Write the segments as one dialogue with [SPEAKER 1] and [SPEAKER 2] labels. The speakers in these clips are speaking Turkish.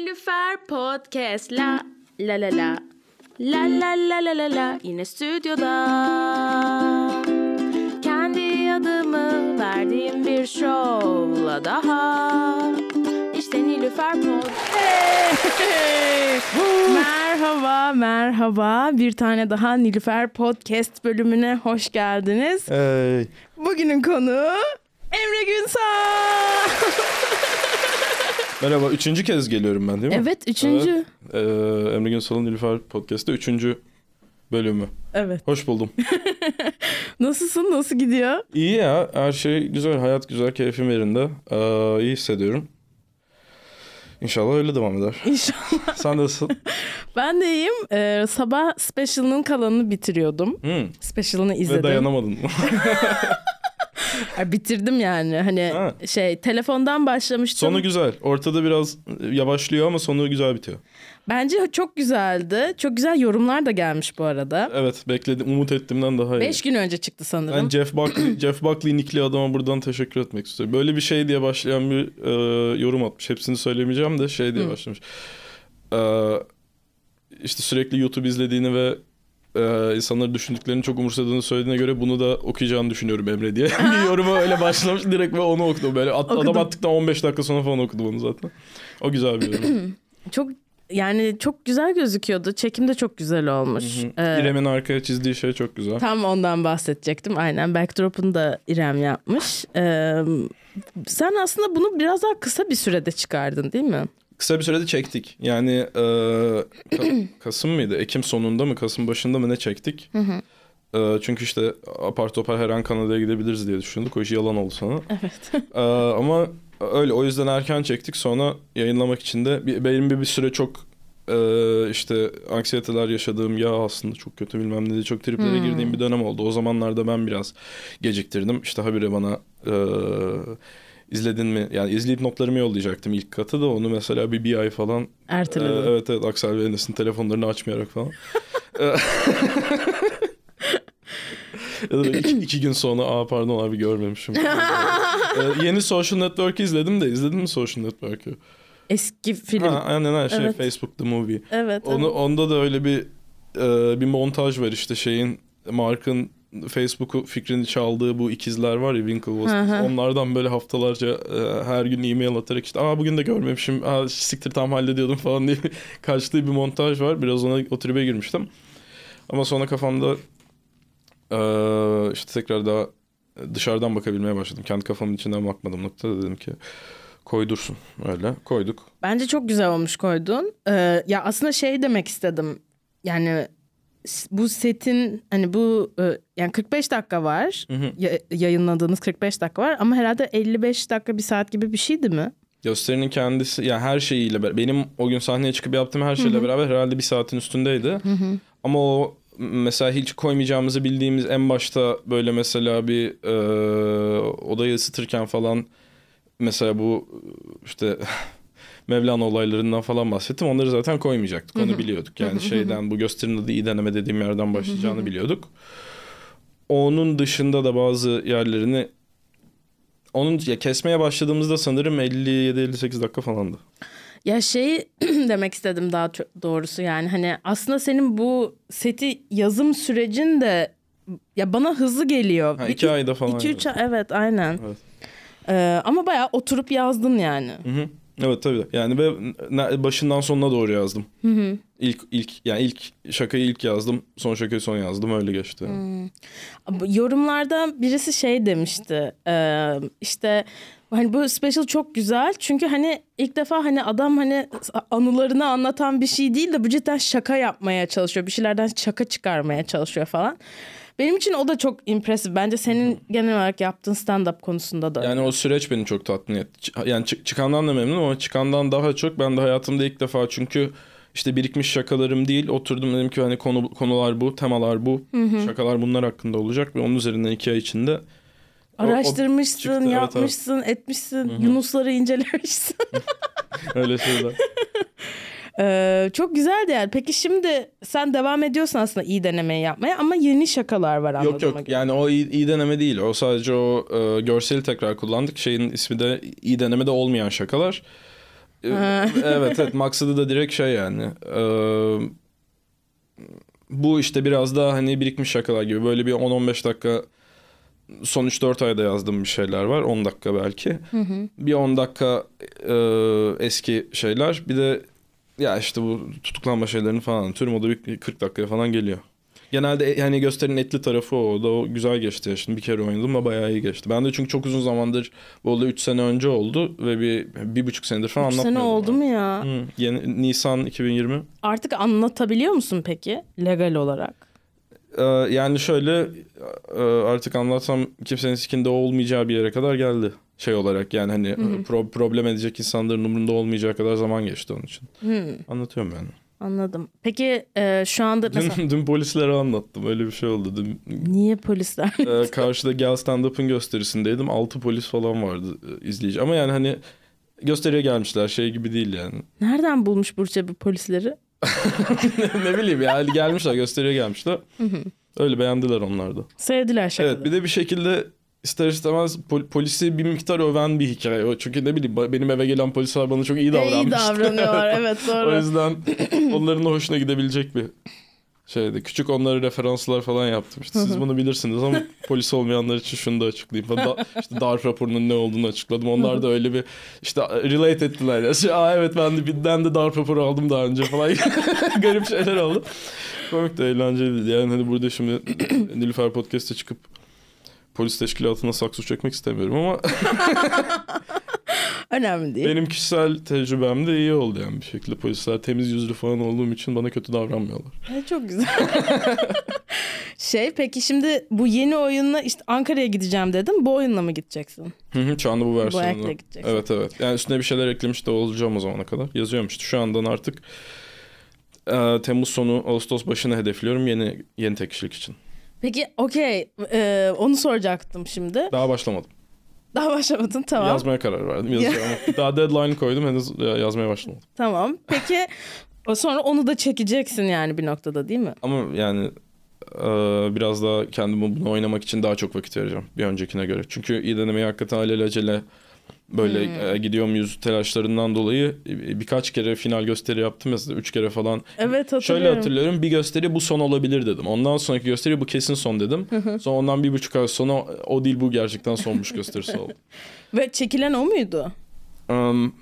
[SPEAKER 1] Nilüfer Podcast la la la la la la la la la la yine stüdyoda kendi adımı verdiğim bir şovla daha işte Nilüfer Podcast merhaba merhaba bir tane daha Nilüfer Podcast bölümüne hoş geldiniz
[SPEAKER 2] Ee,
[SPEAKER 1] bugünün konuğu Emre Günsal
[SPEAKER 2] merhaba. Üçüncü kez geliyorum ben değil mi?
[SPEAKER 1] evet üçüncü
[SPEAKER 2] Evet. Ee, Emre Günsal'ın Nilüfer Podcast'te üçüncü bölümü.
[SPEAKER 1] evet
[SPEAKER 2] Hoş buldum.
[SPEAKER 1] nasılsın nasıl gidiyor
[SPEAKER 2] iyi ya. Her şey güzel. Hayat güzel. Keyfim yerinde. Ee, iyi hissediyorum. İnşallah öyle devam eder.
[SPEAKER 1] İnşallah.
[SPEAKER 2] Sen nasılsın?
[SPEAKER 1] Ben de iyiyim. Ee, sabah special'ının kalanını bitiriyordum.
[SPEAKER 2] Hmm.
[SPEAKER 1] Special'ını
[SPEAKER 2] Ve
[SPEAKER 1] izledim.
[SPEAKER 2] dayanamadın.
[SPEAKER 1] Ay, bitirdim yani. Hani
[SPEAKER 2] Ha.
[SPEAKER 1] şey telefondan başlamıştım.
[SPEAKER 2] sonu güzel. Ortada biraz yavaşlıyor ama sonu güzel bitiyor.
[SPEAKER 1] Bence çok güzeldi. Çok güzel yorumlar da gelmiş bu arada.
[SPEAKER 2] Evet bekledim. Umut ettiğimden daha iyi.
[SPEAKER 1] 5 gün önce çıktı sanırım.
[SPEAKER 2] Ben Jeff Buckley, Jeff Buckley nickli adama buradan teşekkür etmek istiyorum. Böyle bir şey diye başlayan bir e, yorum atmış. Hepsini söylemeyeceğim de şey diye başlamış. E, işte sürekli YouTube izlediğini ve e, insanların düşündüklerini çok umursadığını söylediğine göre bunu da okuyacağını düşünüyorum Emre diye. bir yoruma öyle başlamış direkt ve onu okudum. Böyle at-
[SPEAKER 1] Okudum.
[SPEAKER 2] adam attıktan 15 dakika sonra falan okudum onu zaten. O güzel bir yorum.
[SPEAKER 1] Çok yani çok güzel gözüküyordu. Çekim de çok güzel olmuş. Ee,
[SPEAKER 2] İrem'in arkaya çizdiği şey çok güzel.
[SPEAKER 1] Tam ondan bahsedecektim. Aynen backdrop'unu da İrem yapmış. Ee, sen aslında bunu biraz daha kısa bir sürede çıkardın değil mi?
[SPEAKER 2] kısa bir sürede çektik. Yani e, Ka- Kasım mıydı? Ekim sonunda mı? Kasım başında mı ne çektik? E, çünkü işte apar topar her an Kanada'ya gidebiliriz diye düşündük. O iş yalan oldu sana.
[SPEAKER 1] Evet.
[SPEAKER 2] E, ama öyle o yüzden erken çektik. Sonra yayınlamak için de bir, benim bir, bir süre çok e, işte anksiyeteler yaşadığım ya aslında çok kötü bilmem ne diye çok triplere girdiğim bir dönem oldu. O zamanlarda ben biraz geciktirdim. İşte habire bana e, izledin mi? Yani izleyip notlarımı yollayacaktım ilk katı da onu mesela bir bir ay falan
[SPEAKER 1] Erteledim.
[SPEAKER 2] ee, evet evet Aksel ve Enes'in telefonlarını açmayarak falan. Ee, ya da böyle iki, iki gün sonra aa pardon abi görmemişim. Ee, yeni Social Network'ü izledim de izledin mi Social Network'ü?
[SPEAKER 1] Eski film.
[SPEAKER 2] Ha, aynen aynen şey
[SPEAKER 1] Evet.
[SPEAKER 2] Facebook The Movie.
[SPEAKER 1] Evet.
[SPEAKER 2] Onu, onda da öyle bir e, bir montaj var işte şeyin Mark'ın Facebook'u fikrini çaldığı bu ikizler var ya
[SPEAKER 1] Hı
[SPEAKER 2] Winklevoss.
[SPEAKER 1] hı.
[SPEAKER 2] Onlardan böyle haftalarca e, her gün e-mail atarak işte aa bugün de görmemişim. Aa siktir tam hallediyordum falan diye kaçtığı bir montaj var. Biraz ona o tribe girmiştim. Ama sonra kafamda e, işte tekrar daha dışarıdan bakabilmeye başladım. Kendi kafamın içinden bakmadım noktada dedim ki koydursun öyle. Koyduk.
[SPEAKER 1] Bence çok güzel olmuş koydun. Ee, ya aslında şey demek istedim. Yani s- bu setin hani bu e, yani 45 dakika var.
[SPEAKER 2] hı.
[SPEAKER 1] Ya- yayınladığınız 45 dakika var ama herhalde 55 dakika bir saat gibi bir şeydi mi?
[SPEAKER 2] Gösterinin kendisi ya her şeyiyle ber- benim o gün sahneye çıkıp yaptığım her şeyle beraber herhalde bir saatin üstündeydi. Ama o m- mesela hiç koymayacağımızı bildiğimiz en başta böyle mesela bir e, odayı ısıtırken falan mesela bu e, işte Mevlana olaylarından falan bahsettim. Onları zaten koymayacaktık. Onu biliyorduk. Yani şeyden bu gösterinin adı iyi deneme dediğim yerden başlayacağını biliyorduk. Onun dışında da bazı yerlerini onun ya kesmeye başladığımızda sanırım 57-58 dakika falandı.
[SPEAKER 1] Ya şey demek istedim daha ço- doğrusu yani hani aslında senin bu seti yazım sürecin de ya bana hızlı geliyor.
[SPEAKER 2] Ha,
[SPEAKER 1] Bir-
[SPEAKER 2] iki ayda falan.
[SPEAKER 1] iki, üç ay- evet aynen.
[SPEAKER 2] Evet.
[SPEAKER 1] Ee, ama bayağı oturup yazdın yani.
[SPEAKER 2] Hı hı. Evet tabii. Yani ve ne- başından sonuna doğru yazdım. İlk ilk yani ilk şakayı ilk yazdım, son şakayı son yazdım öyle geçti.
[SPEAKER 1] Yorumlarda birisi şey demişti e, işte hani bu special çok güzel çünkü hani ilk defa hani adam hani anılarını anlatan bir şey değil de bu cidden şaka yapmaya çalışıyor bir şeylerden şaka çıkarmaya çalışıyor falan. Benim için o da çok impresif bence senin genel olarak yaptığın stand up konusunda da.
[SPEAKER 2] Yani o süreç beni çok tatmin etti. Ç- Yani çı- çıkandan da memnunum ama çıkandan daha çok ben de hayatımda ilk defa çünkü işte birikmiş şakalarım değil oturdum dedim ki hani konu konular bu, temalar bu, şakalar bunlar hakkında olacak ve onun üzerinden iki ay içinde o- o
[SPEAKER 1] Araştırmışsın,
[SPEAKER 2] çıktı, evet, evet.
[SPEAKER 1] yapmışsın, etmişsin, Yunusları incelemişsin.
[SPEAKER 2] öyle şeyler.
[SPEAKER 1] Ee, çok güzeldi yani. Peki şimdi sen devam ediyorsun aslında iyi denemeyi yapmaya ama yeni şakalar var anladığıma
[SPEAKER 2] Yok yok
[SPEAKER 1] göre.
[SPEAKER 2] yani o iyi, iyi deneme değil. O sadece o e, görseli tekrar kullandık. Şeyin ismi de iyi denemede olmayan şakalar.
[SPEAKER 1] Ha.
[SPEAKER 2] evet evet maksadı da direkt şey yani. e, bu işte biraz daha hani birikmiş şakalar gibi böyle bir 10-15 dakika son 3-4 ayda yazdığım bir şeyler var 10 dakika belki. Bir 10 dakika e, eski şeyler bir de ya işte bu tutuklanma şeylerini falan anlatıyorum o da bir 40 dakikaya falan geliyor. Genelde e- yani gösterinin etli tarafı o da o güzel geçti ya şimdi bir kere oynadım da bayağı iyi geçti. Ben de çünkü çok uzun zamandır bu oldu 3 sene önce oldu ve bir, bir buçuk senedir falan
[SPEAKER 1] Üç sene
[SPEAKER 2] anlatmıyordum.
[SPEAKER 1] oldu
[SPEAKER 2] ben.
[SPEAKER 1] mu ya?
[SPEAKER 2] Hı, yeni Nisan 2020.
[SPEAKER 1] Artık anlatabiliyor musun peki legal olarak?
[SPEAKER 2] Ee, yani şöyle e, artık anlatsam kimsenin sikinde olmayacağı bir yere kadar geldi şey olarak yani hani e, pro- problem edecek insanların umurunda olmayacağı kadar zaman geçti onun için.
[SPEAKER 1] Hmm,
[SPEAKER 2] Anlatıyorum yani.
[SPEAKER 1] anladım. Peki e, şu anda mesela
[SPEAKER 2] Dün, dün polislere anlattım öyle bir şey oldu. Dün
[SPEAKER 1] niye polisler?
[SPEAKER 2] e, karşıda Gel Stand Up'ın gösterisindeydim. 6 polis falan vardı e, izleyici ama yani hani gösteriye gelmişler şey gibi değil yani.
[SPEAKER 1] Nereden bulmuş Burç'a bu polisleri?
[SPEAKER 2] ne bileyim yani gelmişler gösteriye gelmişler. Öyle beğendiler onlar da.
[SPEAKER 1] Sevdiler şakaları.
[SPEAKER 2] Evet bir de bir şekilde ister istemez pol- polisi bir miktar öven bir hikaye. o. Çünkü ne bileyim ba- benim eve gelen polisler bana çok iyi
[SPEAKER 1] E,
[SPEAKER 2] davranmıştı.
[SPEAKER 1] İyi davranıyorlar evet
[SPEAKER 2] o
[SPEAKER 1] doğru.
[SPEAKER 2] yüzden onların da hoşuna gidebilecek bir şeydi. Küçük onlara referanslar falan yaptım. İşte siz bunu bilirsiniz ama polis olmayanlar için şunu da açıklayayım. Ben da- işte darp raporunun ne olduğunu açıkladım. Onlar da öyle bir işte relate ettiler. Ya. Şey, Aa evet ben de birden de darp raporu aldım daha önce falan. Garip şeyler oldu. Komik de eğlenceliydi. Yani hani burada şimdi Nilüfer Podcast'e çıkıp polis teşkilatına saksı çekmek istemiyorum ama
[SPEAKER 1] Önemli değil.
[SPEAKER 2] benim kişisel tecrübemde iyi oldu yani bir şekilde polisler temiz yüzlü falan olduğum için bana kötü davranmıyorlar.
[SPEAKER 1] E, çok güzel. şey peki şimdi bu yeni oyunla işte Ankara'ya gideceğim dedim. Bu oyunla mı gideceksin?
[SPEAKER 2] Hı hı, Şu anda bu
[SPEAKER 1] Bu
[SPEAKER 2] versiyonda.
[SPEAKER 1] ekle gideceksin.
[SPEAKER 2] Evet evet. Yani üstüne bir şeyler eklemiş de olacağım o zamana kadar. Yazıyorum işte şu andan artık e, Temmuz sonu Ağustos başını hedefliyorum yeni yeni tek kişilik için.
[SPEAKER 1] Peki okey e, onu soracaktım şimdi.
[SPEAKER 2] Daha başlamadım.
[SPEAKER 1] Daha başlamadın tamam.
[SPEAKER 2] Yazmaya karar verdim. Yazacağım. Daha deadline koydum henüz ya- yazmaya başlamadım.
[SPEAKER 1] Tamam peki o sonra onu da çekeceksin yani bir noktada değil mi?
[SPEAKER 2] Ama yani e, biraz daha kendimi bunu oynamak için daha çok vakit vereceğim bir öncekine göre. Çünkü iyi denemeyi hakikaten alelacele böyle
[SPEAKER 1] Hmm.
[SPEAKER 2] e, gidiyor muyuz telaşlarından dolayı e, birkaç kere final gösteri yaptım mesela üç kere falan
[SPEAKER 1] Evet hatırlıyorum.
[SPEAKER 2] Şöyle hatırlıyorum bir gösteri bu son olabilir dedim. Ondan sonraki gösteri bu kesin son dedim. Sonra ondan bir buçuk ay sonra o değil bu gerçekten sonmuş gösterisi oldu.
[SPEAKER 1] Ve çekilen o muydu?
[SPEAKER 2] Um, ı-ı,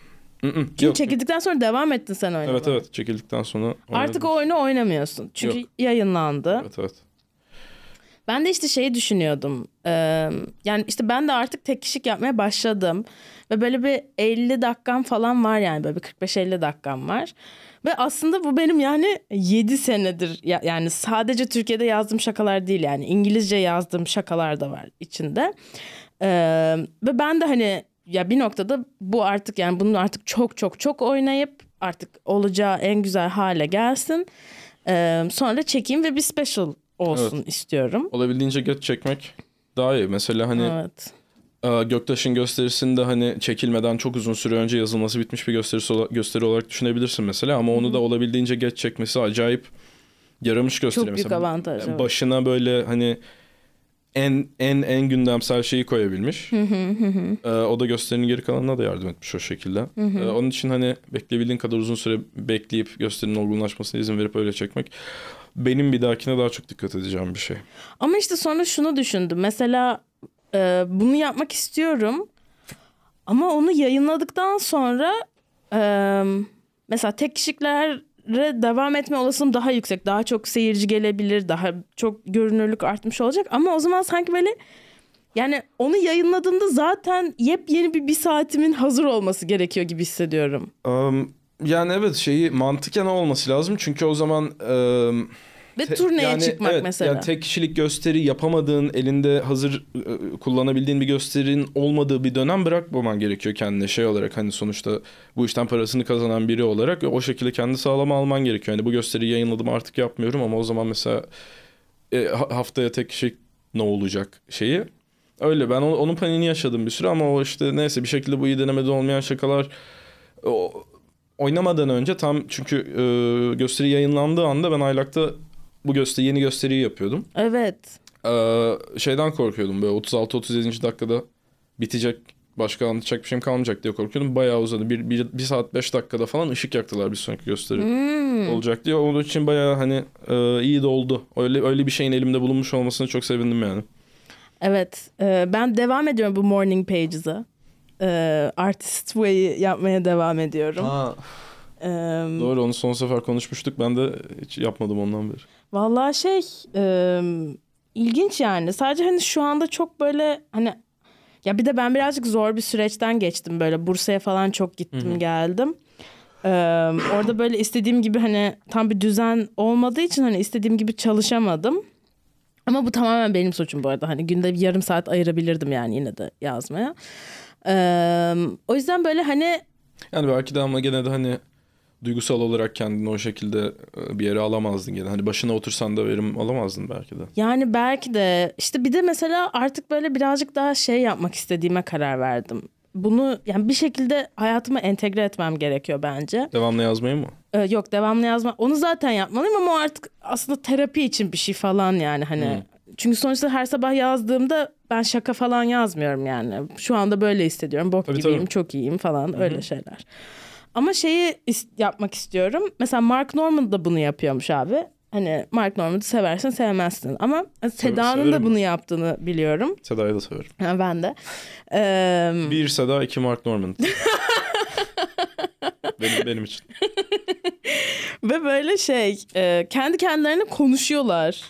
[SPEAKER 1] Çünkü
[SPEAKER 2] yok.
[SPEAKER 1] çekildikten sonra devam ettin sen oynamaya.
[SPEAKER 2] Evet evet çekildikten sonra.
[SPEAKER 1] Artık o oyunu oynamıyorsun. Çünkü
[SPEAKER 2] Yok.
[SPEAKER 1] yayınlandı.
[SPEAKER 2] Evet evet.
[SPEAKER 1] Ben de işte şeyi düşünüyordum. Ee, yani işte ben de artık tek kişilik yapmaya başladım. Ve böyle bir 50 dakikam falan var yani. Böyle bir 45-50 dakikam var. Ve aslında bu benim yani 7 senedir ya- yani sadece Türkiye'de yazdığım şakalar değil yani İngilizce yazdığım şakalar da var içinde. Ee, ve ben de hani ya bir noktada bu artık yani bunu artık çok çok çok oynayıp artık olacağı en güzel hale gelsin. Ee, sonra çekeyim ve bir special olsun istiyorum.
[SPEAKER 2] Olabildiğince geç çekmek daha iyi. Mesela hani
[SPEAKER 1] Evet.
[SPEAKER 2] e, Göktaş'ın gösterisinde hani çekilmeden çok uzun süre önce yazılması bitmiş bir gösterisi ola- gösteri olarak düşünebilirsin mesela. Ama onu da olabildiğince geç çekmesi acayip yaramış gösteri.
[SPEAKER 1] Çok büyük
[SPEAKER 2] Mesela
[SPEAKER 1] avantaj. evet.
[SPEAKER 2] başına böyle hani en en en gündemsel şeyi koyabilmiş. Ee, o da gösterinin geri kalanına da yardım etmiş o şekilde. Ee, onun için hani bekleyebildiğin kadar uzun süre bekleyip gösterinin olgunlaşmasına izin verip öyle çekmek benim bir dahakine daha çok dikkat edeceğim bir şey.
[SPEAKER 1] Ama işte sonra şunu düşündüm. Mesela e, bunu yapmak istiyorum. Ama onu yayınladıktan sonra e, mesela tek kişiliklere devam etme olasılığım daha yüksek. Daha çok seyirci gelebilir. Daha çok görünürlük artmış olacak. Ama o zaman sanki böyle yani onu yayınladığımda zaten yepyeni bir bir saatimin hazır olması gerekiyor gibi hissediyorum.
[SPEAKER 2] Am, yani evet şeyi mantıken o olması lazım çünkü o zaman am,
[SPEAKER 1] Ve
[SPEAKER 2] Te-
[SPEAKER 1] turneye
[SPEAKER 2] yani
[SPEAKER 1] çıkmak
[SPEAKER 2] evet,
[SPEAKER 1] mesela.
[SPEAKER 2] Yani tek kişilik gösteri yapamadığın, elinde hazır e, kullanabildiğin bir gösterinin olmadığı bir dönem bırakmaman gerekiyor kendine şey olarak hani sonuçta bu işten parasını kazanan biri olarak ve o şekilde kendi sağlama alman gerekiyor. Hani bu gösteriyi yayınladım artık yapmıyorum ama o zaman mesela e, ha- haftaya tek kişilik ne olacak şeyi. Öyle ben o- onun paniğini yaşadım bir süre ama o işte neyse bir şekilde bu iyi denemede olmayan şakalar o, oynamadan önce tam çünkü e, gösteri yayınlandığı anda ben Aylak'ta bu gösteri yeni gösteriyi yapıyordum. E,
[SPEAKER 1] Evet.
[SPEAKER 2] Ee, şeyden korkuyordum böyle 36-37. dakikada bitecek başka anlatacak bir şeyim kalmayacak diye korkuyordum. Bayağı uzadı. Bir, bir, bir saat beş dakikada falan ışık yaktılar bir sonraki gösteri
[SPEAKER 1] Hmm.
[SPEAKER 2] olacak diye. Onun için bayağı hani e, iyi de oldu. Öyle öyle bir şeyin elimde bulunmuş olmasına çok sevindim yani.
[SPEAKER 1] Evet. e, ben devam ediyorum bu morning pages'a. E, artist way'i yapmaya devam ediyorum. E,
[SPEAKER 2] Doğru onu son sefer konuşmuştuk. Ben de hiç yapmadım ondan beri.
[SPEAKER 1] Vallahi şey e, ilginç yani. Sadece hani şu anda çok böyle hani ya bir de ben birazcık zor bir süreçten geçtim böyle Bursa'ya falan çok gittim geldim. E, orada böyle istediğim gibi hani tam bir düzen olmadığı için hani istediğim gibi çalışamadım. Ama bu tamamen benim suçum bu arada. Hani günde bir yarım saat ayırabilirdim yani yine de yazmaya. E, o yüzden böyle hani
[SPEAKER 2] Yani belki de ama gene de hani duygusal olarak kendini o şekilde e, bir yere alamazdın gene. Hani başına otursan da verim alamazdın belki de.
[SPEAKER 1] Yani belki de işte bir de mesela artık böyle birazcık daha şey yapmak istediğime karar verdim. Bunu yani bir şekilde hayatıma entegre etmem gerekiyor bence.
[SPEAKER 2] Devamlı yazmayı mı?
[SPEAKER 1] Ee, yok devamlı yazma onu zaten yapmalıyım ama o artık aslında terapi için bir şey falan yani hani.
[SPEAKER 2] Hmm.
[SPEAKER 1] Çünkü sonuçta her sabah yazdığımda ben şaka falan yazmıyorum yani. Şu anda böyle hissediyorum bok
[SPEAKER 2] Tabii,
[SPEAKER 1] gibiyim
[SPEAKER 2] tabii.
[SPEAKER 1] çok iyiyim falan öyle şeyler. Ama şeyi is- yapmak istiyorum. Mesela Mark Norman da bunu yapıyormuş abi. Hani Mark Norman'ı seversin sevmezsin. Ama Seda'nın da
[SPEAKER 2] severim.
[SPEAKER 1] bunu yaptını biliyorum.
[SPEAKER 2] Seda'yı da severim.
[SPEAKER 1] Ha, ben de. Ee,
[SPEAKER 2] Bir Seda, iki Mark Norman. benim, benim için.
[SPEAKER 1] ve böyle şey e, kendi kendilerine konuşuyorlar.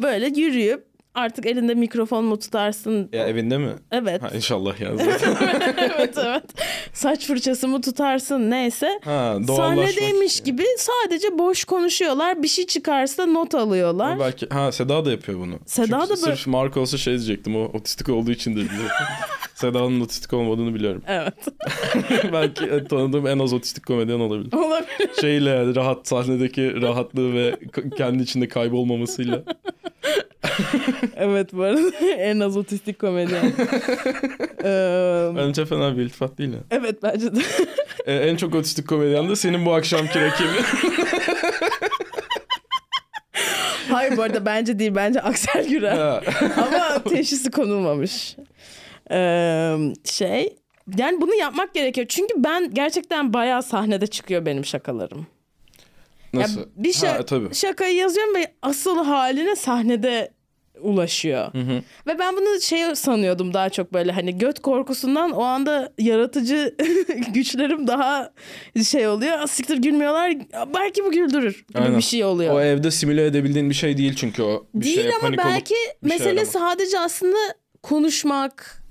[SPEAKER 1] Böyle yürüyüp artık elinde mikrofon mu tutarsın?
[SPEAKER 2] Ya evinde mi?
[SPEAKER 1] Evet.
[SPEAKER 2] Ha inşallah ya zaten.
[SPEAKER 1] evet evet. Saç fırçası mı tutarsın neyse.
[SPEAKER 2] Ha doğallaşmak.
[SPEAKER 1] Sahnedeymiş gibi sadece boş konuşuyorlar. Bir şey çıkarsa not alıyorlar.
[SPEAKER 2] Ama Belki ha Seda da yapıyor bunu.
[SPEAKER 1] Seda da
[SPEAKER 2] Çünkü
[SPEAKER 1] böyle-
[SPEAKER 2] sırf Mark olsa şey diyecektim o otistik olduğu için de biliyorum. Seda'nın otistik olmadığını biliyorum.
[SPEAKER 1] Evet.
[SPEAKER 2] Belki e, tanıdığım en az otistik komedyen olabilir.
[SPEAKER 1] Olabilir.
[SPEAKER 2] Şeyle yani rahat sahnedeki rahatlığı ve k- kendi içinde kaybolmamasıyla.
[SPEAKER 1] evet bu arada en az otistik komedyen. Ee,
[SPEAKER 2] Bence fena bir iltifat değil yani.
[SPEAKER 1] evet bence de.
[SPEAKER 2] E, en çok otistik komedyen de senin bu akşamki rakibin.
[SPEAKER 1] Hayır bu arada bence değil. Bence Aksel Gürer.
[SPEAKER 2] Ha.
[SPEAKER 1] Ama teşhisi konulmamış. Ee, şey yani bunu yapmak gerekiyor. Çünkü ben gerçekten bayağı sahnede çıkıyor benim şakalarım. Ya
[SPEAKER 2] Nasıl?
[SPEAKER 1] bir şey
[SPEAKER 2] Ha, tabii.
[SPEAKER 1] şakayı yazıyorum ve asıl haline sahnede ulaşıyor.
[SPEAKER 2] hı.
[SPEAKER 1] Ve ben bunu şey sanıyordum daha çok böyle hani göt korkusundan o anda yaratıcı güçlerim daha şey oluyor. "Aa, Siktir gülmüyorlar. Aa, Belki bu güldürür gibi
[SPEAKER 2] Aynen.
[SPEAKER 1] bir şey oluyor.
[SPEAKER 2] O evde simüle edebildiğin bir şey değil çünkü o. Bir
[SPEAKER 1] Değil
[SPEAKER 2] şeye
[SPEAKER 1] ama
[SPEAKER 2] panik olup
[SPEAKER 1] belki
[SPEAKER 2] bir şey
[SPEAKER 1] mesele
[SPEAKER 2] aramak.
[SPEAKER 1] sadece aslında konuşmak.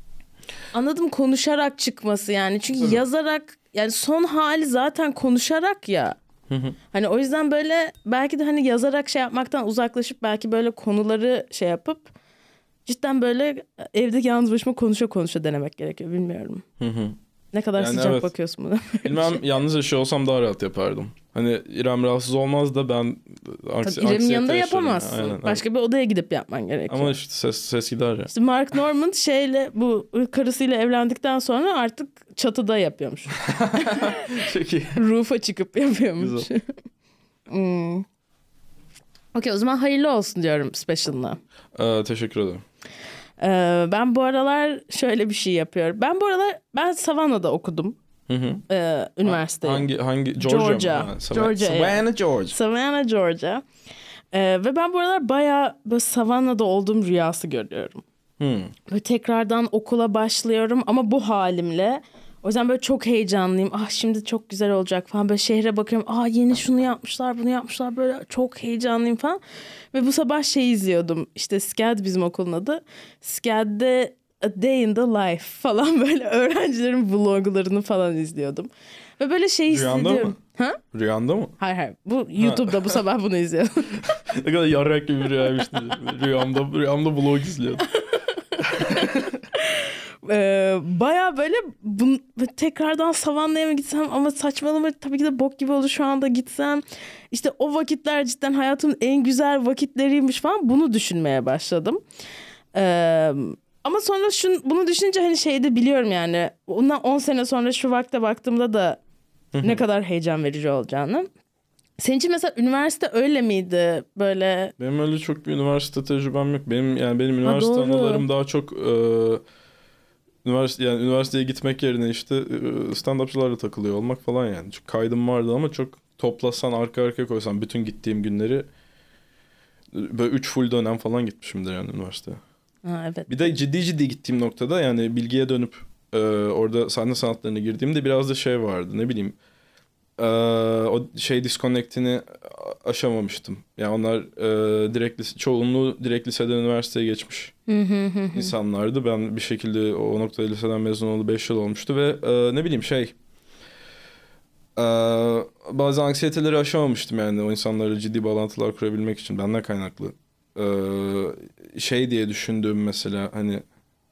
[SPEAKER 1] Anladım konuşarak çıkması yani. Çünkü yazarak yani son hali zaten konuşarak ya. hani o yüzden böyle belki de hani yazarak şey yapmaktan uzaklaşıp belki böyle konuları şey yapıp cidden böyle evde yalnız başıma konuşa konuşa denemek gerekiyor bilmiyorum. Ne kadar
[SPEAKER 2] Yani
[SPEAKER 1] sıcak
[SPEAKER 2] evet.
[SPEAKER 1] bakıyorsun buna.
[SPEAKER 2] Bilmem yalnız yaşıyor olsam daha rahat yapardım. Hani İrem rahatsız olmaz da ben aksi,
[SPEAKER 1] Tabii İrem'in
[SPEAKER 2] anksiyete
[SPEAKER 1] yanında
[SPEAKER 2] yaşarım.
[SPEAKER 1] yapamazsın.
[SPEAKER 2] Aynen, evet.
[SPEAKER 1] Başka bir şey odaya gidip yapman gerekiyor.
[SPEAKER 2] Ama işte ses, ses gider ya.
[SPEAKER 1] İşte Mark Norman şeyle bu karısıyla evlendikten sonra artık çatıda yapıyormuş.
[SPEAKER 2] Çok iyi.
[SPEAKER 1] Roof'a çıkıp yapıyormuş.
[SPEAKER 2] Güzel.
[SPEAKER 1] Hmm. Okey o zaman hayırlı olsun diyorum special'ına.
[SPEAKER 2] Ee, teşekkür ederim.
[SPEAKER 1] Ee, ben bu aralar şöyle bir şey yapıyorum. Ben bu aralar ben Savannah'da okudum
[SPEAKER 2] Hı hı.
[SPEAKER 1] ee, üniversiteyi.
[SPEAKER 2] Hangi hangi Georgia? mı?
[SPEAKER 1] Georgia.
[SPEAKER 2] Ha, Savannah-
[SPEAKER 1] Georgia, evet.
[SPEAKER 2] Savannah, Georgia.
[SPEAKER 1] Savannah, Georgia. Ee, ve ben bu aralar bayağı böyle Savannah'da olduğum rüyası görüyorum.
[SPEAKER 2] Hı.
[SPEAKER 1] Böyle tekrardan okula başlıyorum ama bu halimle. O yüzden böyle çok heyecanlıyım. Ah şimdi çok güzel olacak falan. Böyle şehre bakıyorum. Ah yeni şunu yapmışlar bunu yapmışlar. Böyle çok heyecanlıyım falan. Ve bu sabah şey izliyordum. İşte SCAD bizim okulun adı. SCAD'de A Day in the Life falan böyle öğrencilerin vloglarını falan izliyordum. Ve böyle şey
[SPEAKER 2] Rüyanda
[SPEAKER 1] hissediyorum.
[SPEAKER 2] mı?
[SPEAKER 1] Ha?
[SPEAKER 2] Rüyanda mı?
[SPEAKER 1] Hayır hayır. Bu YouTube'da bu sabah bunu izliyordum.
[SPEAKER 2] Ne kadar yarrak gibi bir rüyaymış. rüyamda, rüyamda blog izliyordum.
[SPEAKER 1] Ee, baya böyle bun, tekrardan Savannah'a mı gitsem ama saçmalama tabii ki de bok gibi olur şu anda gitsem. İşte o vakitler cidden hayatımın en güzel vakitleriymiş falan bunu düşünmeye başladım. Ee, ama sonra şun, bunu düşünce hani şeyi de biliyorum yani ondan 10 sene sonra şu vakte baktığımda da ne kadar heyecan verici olacağını. Senin için mesela üniversite öyle miydi böyle?
[SPEAKER 2] Benim öyle çok bir üniversite tecrübem yok. Benim yani benim üniversite
[SPEAKER 1] doğru.
[SPEAKER 2] anılarım daha çok e, Üniversite, yani üniversiteye gitmek yerine işte e, stand-upçılarla takılıyor olmak falan yani. Çok kaydım vardı ama çok toplasan arka arkaya koysan bütün gittiğim günleri e, böyle 3 full dönem falan gitmişimdir yani üniversiteye.
[SPEAKER 1] Ha, evet.
[SPEAKER 2] Bir de ciddi ciddi gittiğim noktada yani bilgiye dönüp e, orada sahne sanatlarına girdiğimde biraz da şey vardı ne bileyim. E, o şey disconnect'ini aşamamıştım. Yani onlar e, direkt lise, çoğunluğu direkt liseden üniversiteye geçmiş
[SPEAKER 1] Hı hı hı.
[SPEAKER 2] insanlardı. Ben bir şekilde o noktada liseden mezun oldu 5 yıl olmuştu ve e, ne bileyim şey e, bazı anksiyeteleri aşamamıştım yani o insanlarla ciddi bağlantılar kurabilmek için benden kaynaklı. E, şey diye düşündüğüm mesela hani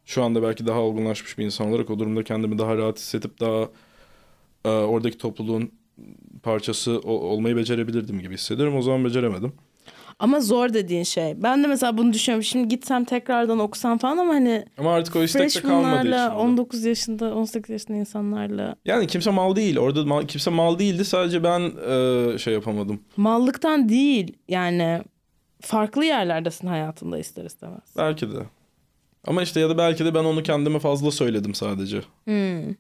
[SPEAKER 2] şu anda belki daha olgunlaşmış bir insan olarak o durumda kendimi daha rahat hissedip daha e, oradaki topluluğun parçası o- olmayı becerebilirdim gibi hissediyorum. O zaman beceremedim.
[SPEAKER 1] Ama zor dediğin şey. Ben de mesela bunu düşünüyorum. Şimdi gitsem tekrardan okusam falan ama hani
[SPEAKER 2] Ama artık o istekte kalmadığı için.
[SPEAKER 1] freshmanlarla
[SPEAKER 2] oldu.
[SPEAKER 1] 19 yaşında 18 yaşında insanlarla
[SPEAKER 2] Yani kimse mal değil. Orada mal- kimse mal değildi. Sadece ben e, şey yapamadım.
[SPEAKER 1] mallıktan değil yani farklı yerlerdesin hayatında ister istemez.
[SPEAKER 2] Belki de. Ama işte ya da belki de ben onu kendime fazla söyledim sadece.
[SPEAKER 1] Hmm.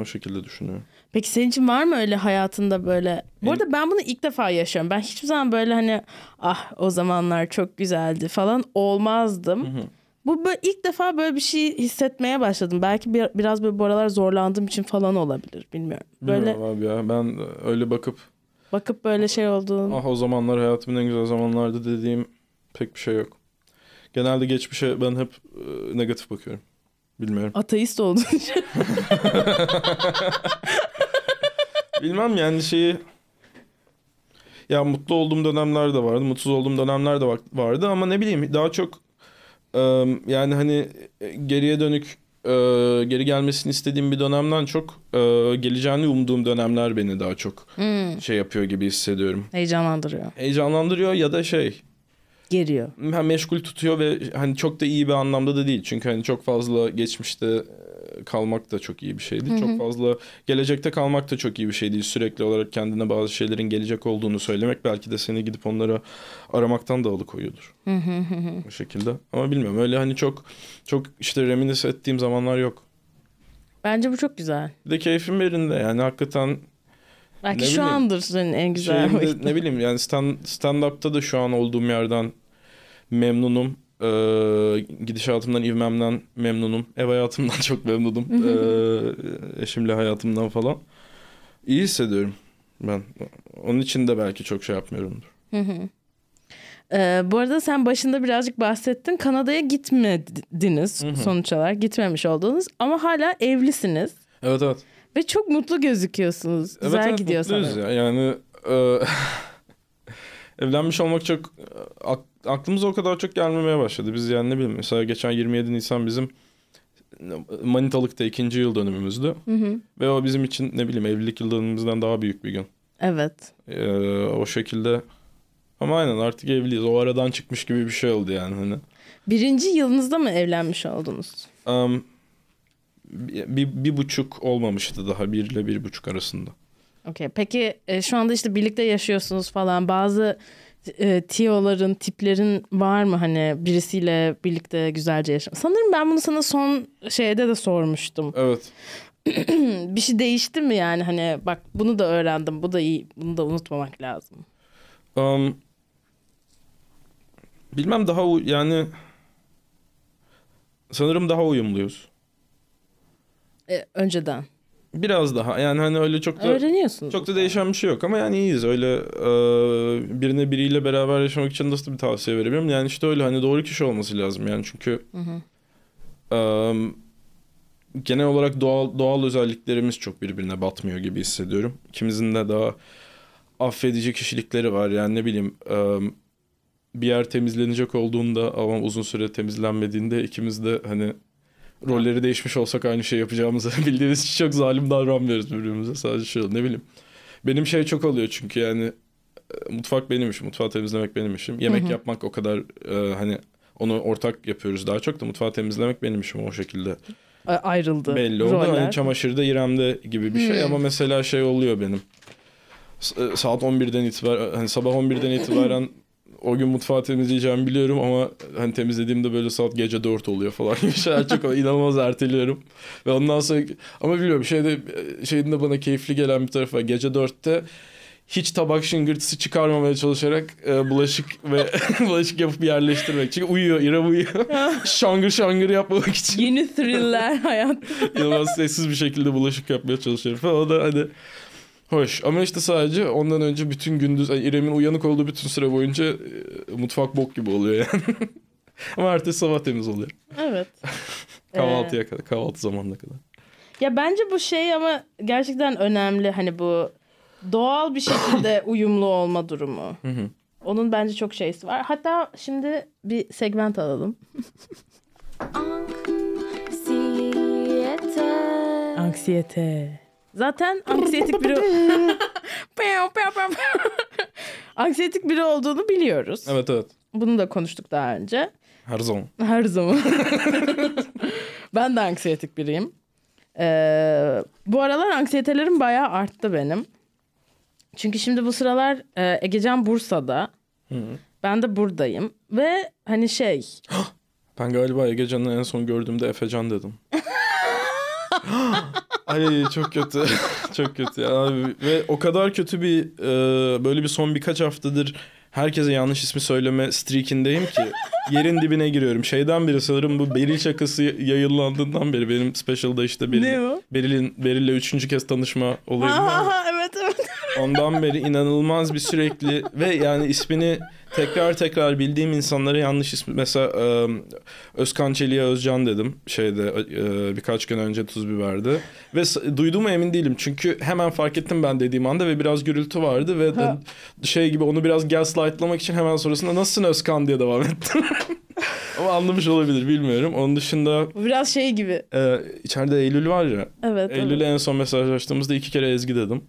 [SPEAKER 2] O şekilde düşünüyorum.
[SPEAKER 1] Peki senin için var mı öyle hayatında böyle? Bu
[SPEAKER 2] Benim-
[SPEAKER 1] arada ben bunu ilk defa yaşıyorum. Ben hiçbir zaman böyle hani ah o zamanlar çok güzeldi falan olmazdım.
[SPEAKER 2] Hı hı.
[SPEAKER 1] Bu böyle ilk defa böyle bir şey hissetmeye başladım. Belki bir- biraz böyle bu aralar zorlandığım için falan olabilir bilmiyorum. Böyle
[SPEAKER 2] Bilmiyorum abi ya. Ben e, öyle bakıp
[SPEAKER 1] bakıp böyle şey olduğun.
[SPEAKER 2] ah o zamanlar hayatımın en güzel zamanlardı dediğim pek bir şey yok. Genelde geçmişe ben hep e, negatif bakıyorum. Bilmiyorum.
[SPEAKER 1] Ateist olduğun için.
[SPEAKER 2] Bilmem yani şeyi ya mutlu olduğum dönemler de vardı, mutsuz olduğum dönemler de vak- vardı ama ne bileyim daha çok e, yani hani e, geriye dönük e, geri gelmesini istediğim bir dönemden çok e, geleceğini umduğum dönemler beni daha çok
[SPEAKER 1] Hmm,
[SPEAKER 2] şey yapıyor gibi hissediyorum.
[SPEAKER 1] Heyecanlandırıyor.
[SPEAKER 2] Heyecanlandırıyor ya da şey
[SPEAKER 1] Geriyor.
[SPEAKER 2] hem meşgul tutuyor ve hani çok da iyi bir anlamda da değil. Çünkü hani çok fazla geçmişte e, kalmak da çok iyi bir şey değil. Çok fazla gelecekte kalmak da çok iyi bir şey değil. Sürekli olarak kendine bazı şeylerin gelecek olduğunu söylemek belki de seni gidip onları aramaktan da alıkoyuyordur.
[SPEAKER 1] Hı hı hı hı.
[SPEAKER 2] Bu şekilde. Ama bilmiyorum öyle hani çok çok işte reminis ettiğim zamanlar yok.
[SPEAKER 1] Bence bu çok güzel.
[SPEAKER 2] Bir de keyfim yerinde yani hakikaten
[SPEAKER 1] Belki
[SPEAKER 2] Ne
[SPEAKER 1] şu
[SPEAKER 2] bileyim.
[SPEAKER 1] andır senin en güzel
[SPEAKER 2] Şeyim de,
[SPEAKER 1] vakit.
[SPEAKER 2] ne bileyim yani stand, stand-up'ta da şu an olduğum yerden memnunum. Ee, gidişatımdan, ivmemden memnunum. Ev hayatımdan çok memnunum. Ee, eşimle hayatımdan falan. İyi hissediyorum ben. Onun için de belki çok şey yapmıyorumdur.
[SPEAKER 1] Hı hı. Ee, bu arada sen başında birazcık bahsettin. Kanada'ya gitmediniz
[SPEAKER 2] Hı hı.
[SPEAKER 1] sonuç olarak. Gitmemiş oldunuz ama hala evlisiniz.
[SPEAKER 2] Evet evet.
[SPEAKER 1] Ve çok mutlu gözüküyorsunuz.
[SPEAKER 2] Evet,
[SPEAKER 1] Güzel
[SPEAKER 2] evet,
[SPEAKER 1] gidiyor
[SPEAKER 2] mutluyuz
[SPEAKER 1] sanırım.
[SPEAKER 2] ya. Yani e, evlenmiş olmak çok e, ak- aklımıza o kadar çok gelmemeye başladı. Biz yani ne bileyim mesela geçen 27 Nisan bizim e, Manitalık'ta ikinci yıl dönümümüzdü.
[SPEAKER 1] Hı hı.
[SPEAKER 2] Ve o bizim için ne bileyim evlilik yıl dönümümüzden daha büyük bir gün.
[SPEAKER 1] Evet.
[SPEAKER 2] E, o şekilde ama aynen artık evliyiz. O aradan çıkmış gibi bir şey oldu yani hani.
[SPEAKER 1] Birinci yılınızda mı evlenmiş oldunuz?
[SPEAKER 2] Am, bir, bir, bir buçuk olmamıştı daha bir ile bir buçuk arasında.
[SPEAKER 1] Okey. Peki e, şu anda işte birlikte yaşıyorsunuz falan. Bazı e, tiyoların, tiplerin var mı hani birisiyle birlikte güzelce yaşam? Sanırım ben bunu sana son şeyde de sormuştum.
[SPEAKER 2] Evet.
[SPEAKER 1] bir şey değişti mi yani hani bak bunu da öğrendim bu da iyi bunu da unutmamak lazım.
[SPEAKER 2] Um, bilmem daha u- yani sanırım daha uyumluyuz.
[SPEAKER 1] E, önceden.
[SPEAKER 2] Biraz daha yani hani öyle çok da
[SPEAKER 1] Öğreniyorsunuz.
[SPEAKER 2] çok da değişen bir şey yok ama yani iyiyiz öyle e, birine biriyle beraber yaşamak için nasıl bir tavsiye verebilirim? Yani işte öyle hani doğru kişi olması lazım yani çünkü e,
[SPEAKER 1] Hı hı.
[SPEAKER 2] Em, genel olarak doğal doğal özelliklerimiz çok birbirine batmıyor gibi hissediyorum. İkimizin de daha affedici kişilikleri var. Yani ne bileyim em, bir yer temizlenecek olduğunda ama uzun süre temizlenmediğinde ikimiz de hani rolleri değişmiş olsak aynı şey yapacağımızı bildiğimiz için çok zalim davranmıyoruz birbirimize. Sadece şey oluyor, ne bileyim. Benim şey çok oluyor çünkü yani e, mutfak benim işim. Mutfağı temizlemek benim işim. Yemek
[SPEAKER 1] hı.
[SPEAKER 2] yapmak o kadar e, hani onu ortak yapıyoruz daha çok da mutfağı temizlemek benim işim o şekilde.
[SPEAKER 1] A- ayrıldı.
[SPEAKER 2] Belli oldu.
[SPEAKER 1] roller.
[SPEAKER 2] Hani çamaşırda İrem'de gibi bir şey ama mesela şey oluyor benim. S- e, Saat 11'den itibaren hani sabah 11'den itibaren o gün mutfağı temizleyeceğimi biliyorum ama hani temizlediğimde böyle saat gece 4 oluyor falan gibi şeyler çok inanılmaz erteliyorum. Ve ondan sonra ama biliyorum şeyde şeyin de bana keyifli gelen bir tarafı var. Gece 4'te hiç tabak şıngırtısı çıkarmamaya çalışarak e, bulaşık ve bulaşık yapıp yerleştirmek. Çünkü uyuyor, İrem uyuyor. şangır şangır yapmamak için
[SPEAKER 1] Yeni thriller hayat.
[SPEAKER 2] inanılmaz sessiz bir şekilde bulaşık yapmaya çalışıyorum falan. O da hani hoş. Ama işte sadece ondan önce bütün gündüz yani İrem'in uyanık olduğu bütün süre boyunca e, mutfak bok gibi oluyor yani. Ama ertesi sabah temiz oluyor.
[SPEAKER 1] Evet.
[SPEAKER 2] Kahvaltıya kadar, kahvaltı zamanına kadar.
[SPEAKER 1] Ya bence bu şey ama gerçekten önemli hani bu doğal bir şekilde uyumlu olma durumu.
[SPEAKER 2] hı.
[SPEAKER 1] Onun bence çok şeysi var. Hatta şimdi bir segment alalım.
[SPEAKER 3] Anksiyete.
[SPEAKER 1] Anksiyete. Zaten anksiyetik biri... Pew, pew, pew, pew. anksiyetik biri olduğunu biliyoruz.
[SPEAKER 2] Evet evet.
[SPEAKER 1] Bunu da konuştuk daha önce.
[SPEAKER 2] Her zaman.
[SPEAKER 1] Her zaman. ben de anksiyetik biriyim. Ee, bu aralar anksiyetelerim bayağı arttı benim. Çünkü şimdi bu sıralar e, Egecan Bursa'da. Ben de buradayım. Ve hani şey...
[SPEAKER 2] Ben galiba Egecan'ı en son gördüğümde Efecan dedim. Ay çok kötü. çok kötü ya abi. Ve o kadar kötü bir e, böyle bir son birkaç haftadır herkese yanlış ismi söyleme streakindeyim ki yerin dibine giriyorum. Şeyden beri sanırım bu Beril şakası yayınlandığından beri benim special'da işte
[SPEAKER 1] Ne
[SPEAKER 2] Beril,
[SPEAKER 1] o?
[SPEAKER 2] Beril'in Beril'le üçüncü kez tanışma olayım. var ya.
[SPEAKER 1] Aha, evet evet.
[SPEAKER 2] Ondan beri inanılmaz bir sürekli ve yani ismini tekrar tekrar bildiğim insanlara yanlış ismi mesela e, Özkan Çelik'e Özcan dedim şeyde e, birkaç gün önce tuz biberdi ve s- duyduğuma emin değilim çünkü hemen fark ettim ben dediğim anda ve biraz gürültü vardı ve
[SPEAKER 1] Ha.
[SPEAKER 2] şey gibi onu biraz gaslightlamak için hemen sonrasında nasılsın Özkan diye devam ettim. Ama anlamış olabilir bilmiyorum. Onun dışında
[SPEAKER 1] Bu Biraz şey gibi.
[SPEAKER 2] e, içeride Eylül var ya.
[SPEAKER 1] Evet. evet.
[SPEAKER 2] Eylül'e en son mesajlaştığımızda iki kere Ezgi dedim.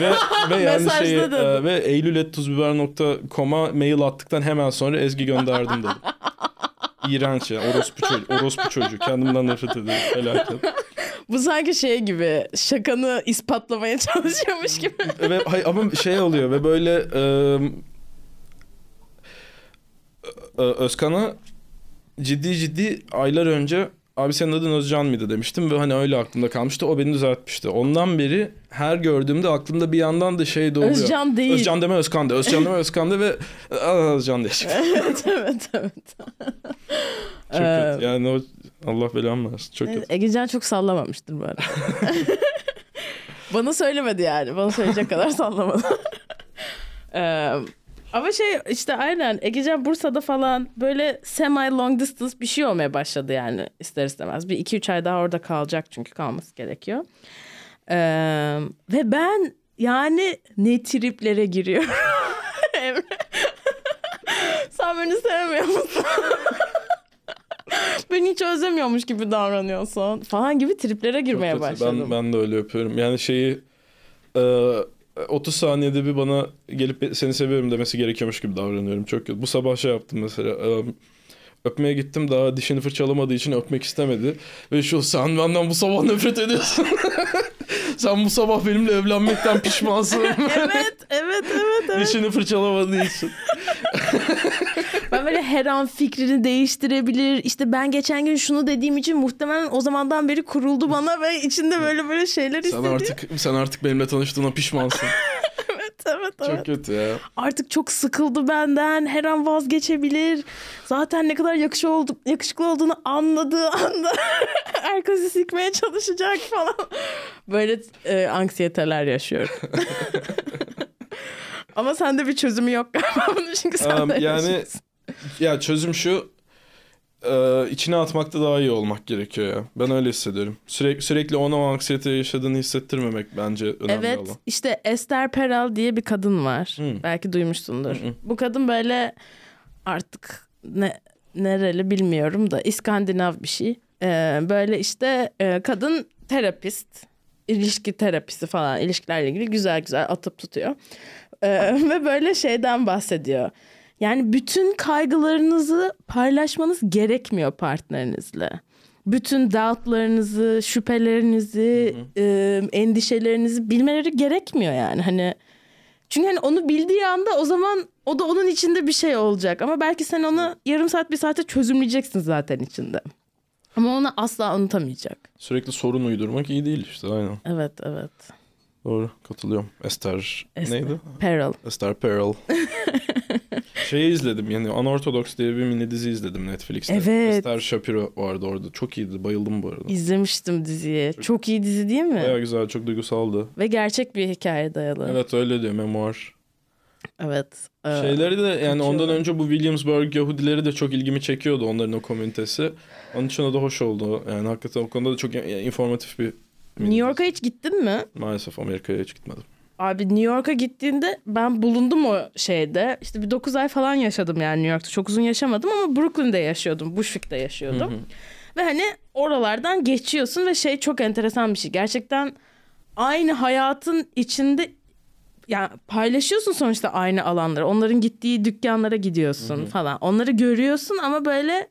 [SPEAKER 2] Ve, ve yani
[SPEAKER 1] Mesajda
[SPEAKER 2] şey,
[SPEAKER 1] dedim.
[SPEAKER 2] e, ve eylül.tuzbiber.com'a mail attıktan hemen sonra Ezgi gönderdim dedim. İğrenç ya. Orospu çocuğu. Orospu çocuğu. Kendimden nefret ediyorum. Felaket.
[SPEAKER 1] Bu sanki şey gibi şakanı ispatlamaya çalışıyormuş gibi.
[SPEAKER 2] ve hay- ama şey oluyor ve böyle e, e, Özkan'a ciddi ciddi aylar önce abi senin adın Özcan mıydı demiştim ve hani öyle aklımda kalmıştı. O beni düzeltmişti. Ondan beri her gördüğümde aklımda bir yandan da şey de oluyor.
[SPEAKER 1] Özcan değil.
[SPEAKER 2] Özcan deme Özkan de. Özcan deme Özkan de ve "Aa, Özcan diye çıktı.
[SPEAKER 1] evet evet evet.
[SPEAKER 2] Çok
[SPEAKER 1] Ee,
[SPEAKER 2] kötü. Yani o Allah belamı versin. Çok kötü.
[SPEAKER 1] Evet, Egecan çok sallamamıştır bu arada. Bana söylemedi yani. Bana söyleyecek kadar sallamadı. Ee, ama şey işte aynen Egecan Bursa'da falan böyle semi long distance bir şey olmaya başladı yani ister istemez. Bir iki üç ay daha orada kalacak çünkü kalması gerekiyor. Ee, ve ben yani ne triplere giriyorum. Emre. Sen beni sevmiyor musun? beni hiç özlemiyormuş gibi davranıyorsun falan gibi triplere
[SPEAKER 2] Çok
[SPEAKER 1] girmeye
[SPEAKER 2] kötü.
[SPEAKER 1] başladım.
[SPEAKER 2] Ben, ben de öyle yapıyorum. Yani şeyi e, 30 saniyede bir bana gelip be- seni seviyorum demesi gerekiyormuş gibi davranıyorum. Çok kötü. Bu sabah şey yaptım mesela. e, öpmeye gittim daha dişini fırçalamadığı için öpmek istemedi. Ve şu sen benden bu sabah nefret ediyorsun. sen bu sabah benimle evlenmekten pişmansın.
[SPEAKER 1] evet, evet, evet, evet.
[SPEAKER 2] dişini fırçalamadığı için.
[SPEAKER 1] Ben böyle her an fikrini değiştirebilir. İşte ben geçen gün şunu dediğim için muhtemelen o zamandan beri kuruldu bana ve içinde böyle böyle şeyler
[SPEAKER 2] sen
[SPEAKER 1] hissediyor.
[SPEAKER 2] artık sen artık benimle tanıştığına pişmansın.
[SPEAKER 1] Evet, evet, evet.
[SPEAKER 2] Çok kötü ya.
[SPEAKER 1] Artık çok sıkıldı benden. Her an vazgeçebilir. Zaten ne kadar yakışıklı, oldu, yakışıklı olduğunu anladığı anda herkesi sikmeye çalışacak falan. Böyle e, anksiyeteler yaşıyorum. Ama sende bir çözümü yok galiba bunun çünkü sen
[SPEAKER 2] Um,
[SPEAKER 1] de
[SPEAKER 2] yani
[SPEAKER 1] yaşıyorsun.
[SPEAKER 2] ya çözüm şu e, içine atmakta daha iyi olmak gerekiyor ya. Ben öyle hissediyorum. Sürekli sürekli ona o anksiyete yaşadığını hissettirmemek bence önemli
[SPEAKER 1] Evet
[SPEAKER 2] olan.
[SPEAKER 1] işte Esther Perel diye bir kadın var.
[SPEAKER 2] Hmm.
[SPEAKER 1] Belki duymuşsundur.
[SPEAKER 2] Hı hı.
[SPEAKER 1] Bu kadın böyle artık ne nereli bilmiyorum da İskandinav bir şey. Ee, böyle işte e, kadın terapist, ilişki terapisi falan ilişkilerle ilgili güzel güzel atıp tutuyor. Ee, ve böyle şeyden bahsediyor. Yani bütün kaygılarınızı paylaşmanız gerekmiyor partnerinizle. Bütün doubtlarınızı, ıı, şüphelerinizi, e, endişelerinizi bilmeleri gerekmiyor yani. Hani Çünkü hani onu bildiği anda o zaman o da onun içinde bir şey olacak. Ama belki sen onu yarım saat bir saate çözümleyeceksin zaten içinde. Ama onu asla unutamayacak.
[SPEAKER 2] Sürekli sorun uydurmak iyi değil işte aynen.
[SPEAKER 1] Evet evet.
[SPEAKER 2] Doğru katılıyorum. Esther,
[SPEAKER 1] Esther.
[SPEAKER 2] neydi?
[SPEAKER 1] Peril.
[SPEAKER 2] Esther Perel. Şeyi izledim yani Unorthodox diye bir mini dizi izledim Netflix'te.
[SPEAKER 1] Evet.
[SPEAKER 2] Esther Shapiro vardı orada. Çok iyiydi bayıldım bu arada.
[SPEAKER 1] İzlemiştim diziyi. Çok iyi dizi değil mi?
[SPEAKER 2] Baya güzel çok duygusaldı.
[SPEAKER 1] Ve gerçek bir hikaye dayalı. Evet.
[SPEAKER 2] Evet öyle diyor memuar.
[SPEAKER 1] evet.
[SPEAKER 2] Şeyleri de yani
[SPEAKER 1] kaçıyorlar.
[SPEAKER 2] ondan önce bu Williamsburg Yahudileri de çok ilgimi çekiyordu onların o komünitesi. Onun için o da hoş oldu. Yani hakikaten o konuda da çok in- informatif bir
[SPEAKER 1] New York'a hiç gittin mi?
[SPEAKER 2] Maalesef Amerika'ya hiç gitmedim.
[SPEAKER 1] Abi New York'a gittiğinde ben bulundum o şeyde. İşte bir 9 ay falan yaşadım yani New York'ta. Çok uzun yaşamadım ama Brooklyn'de yaşıyordum. Bushwick'te yaşıyordum. Ve hani oralardan geçiyorsun ve şey çok enteresan bir şey. Gerçekten aynı hayatın içinde yani paylaşıyorsun sonuçta aynı alanları. Onların gittiği dükkanlara gidiyorsun falan. Onları görüyorsun ama böyle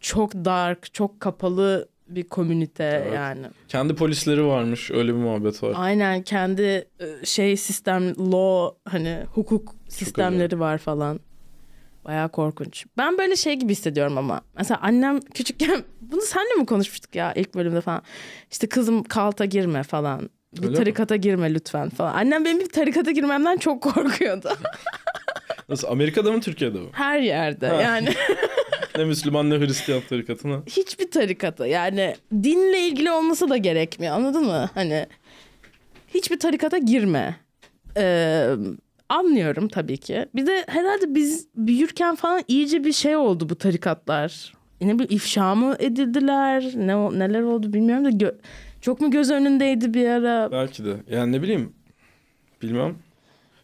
[SPEAKER 1] çok dark, çok kapalı bir komünite
[SPEAKER 2] Evet.
[SPEAKER 1] yani.
[SPEAKER 2] Kendi polisleri varmış öyle bir muhabbet var.
[SPEAKER 1] Aynen kendi e, şey sistem law hani hukuk sistemleri var falan. Bayağı korkunç. Ben böyle şey gibi hissediyorum ama. Mesela annem küçükken bunu senle mi konuşmuştuk ya ilk bölümde falan. İşte kızım kalta girme falan. Bir
[SPEAKER 2] Öyle mi?
[SPEAKER 1] tarikata girme lütfen falan. Annem benim bir tarikata girmemden çok korkuyordu.
[SPEAKER 2] Nasıl Amerika'da mı Türkiye'de mi?
[SPEAKER 1] Her yerde
[SPEAKER 2] Ha.
[SPEAKER 1] yani.
[SPEAKER 2] Ne Müslüman ne Hristiyan tarikatına.
[SPEAKER 1] hiçbir tarikata yani dinle ilgili olması da gerekmiyor anladın mı? Hani hiçbir tarikata girme. Ee, anlıyorum tabii ki. Bir de herhalde biz büyürken falan iyice bir şey oldu bu tarikatlar. Yine bir ifşa mı edildiler? Ne o- neler oldu bilmiyorum da gö- çok mu göz önündeydi bir ara?
[SPEAKER 2] Belki de. Yani ne bileyim. Bilmem.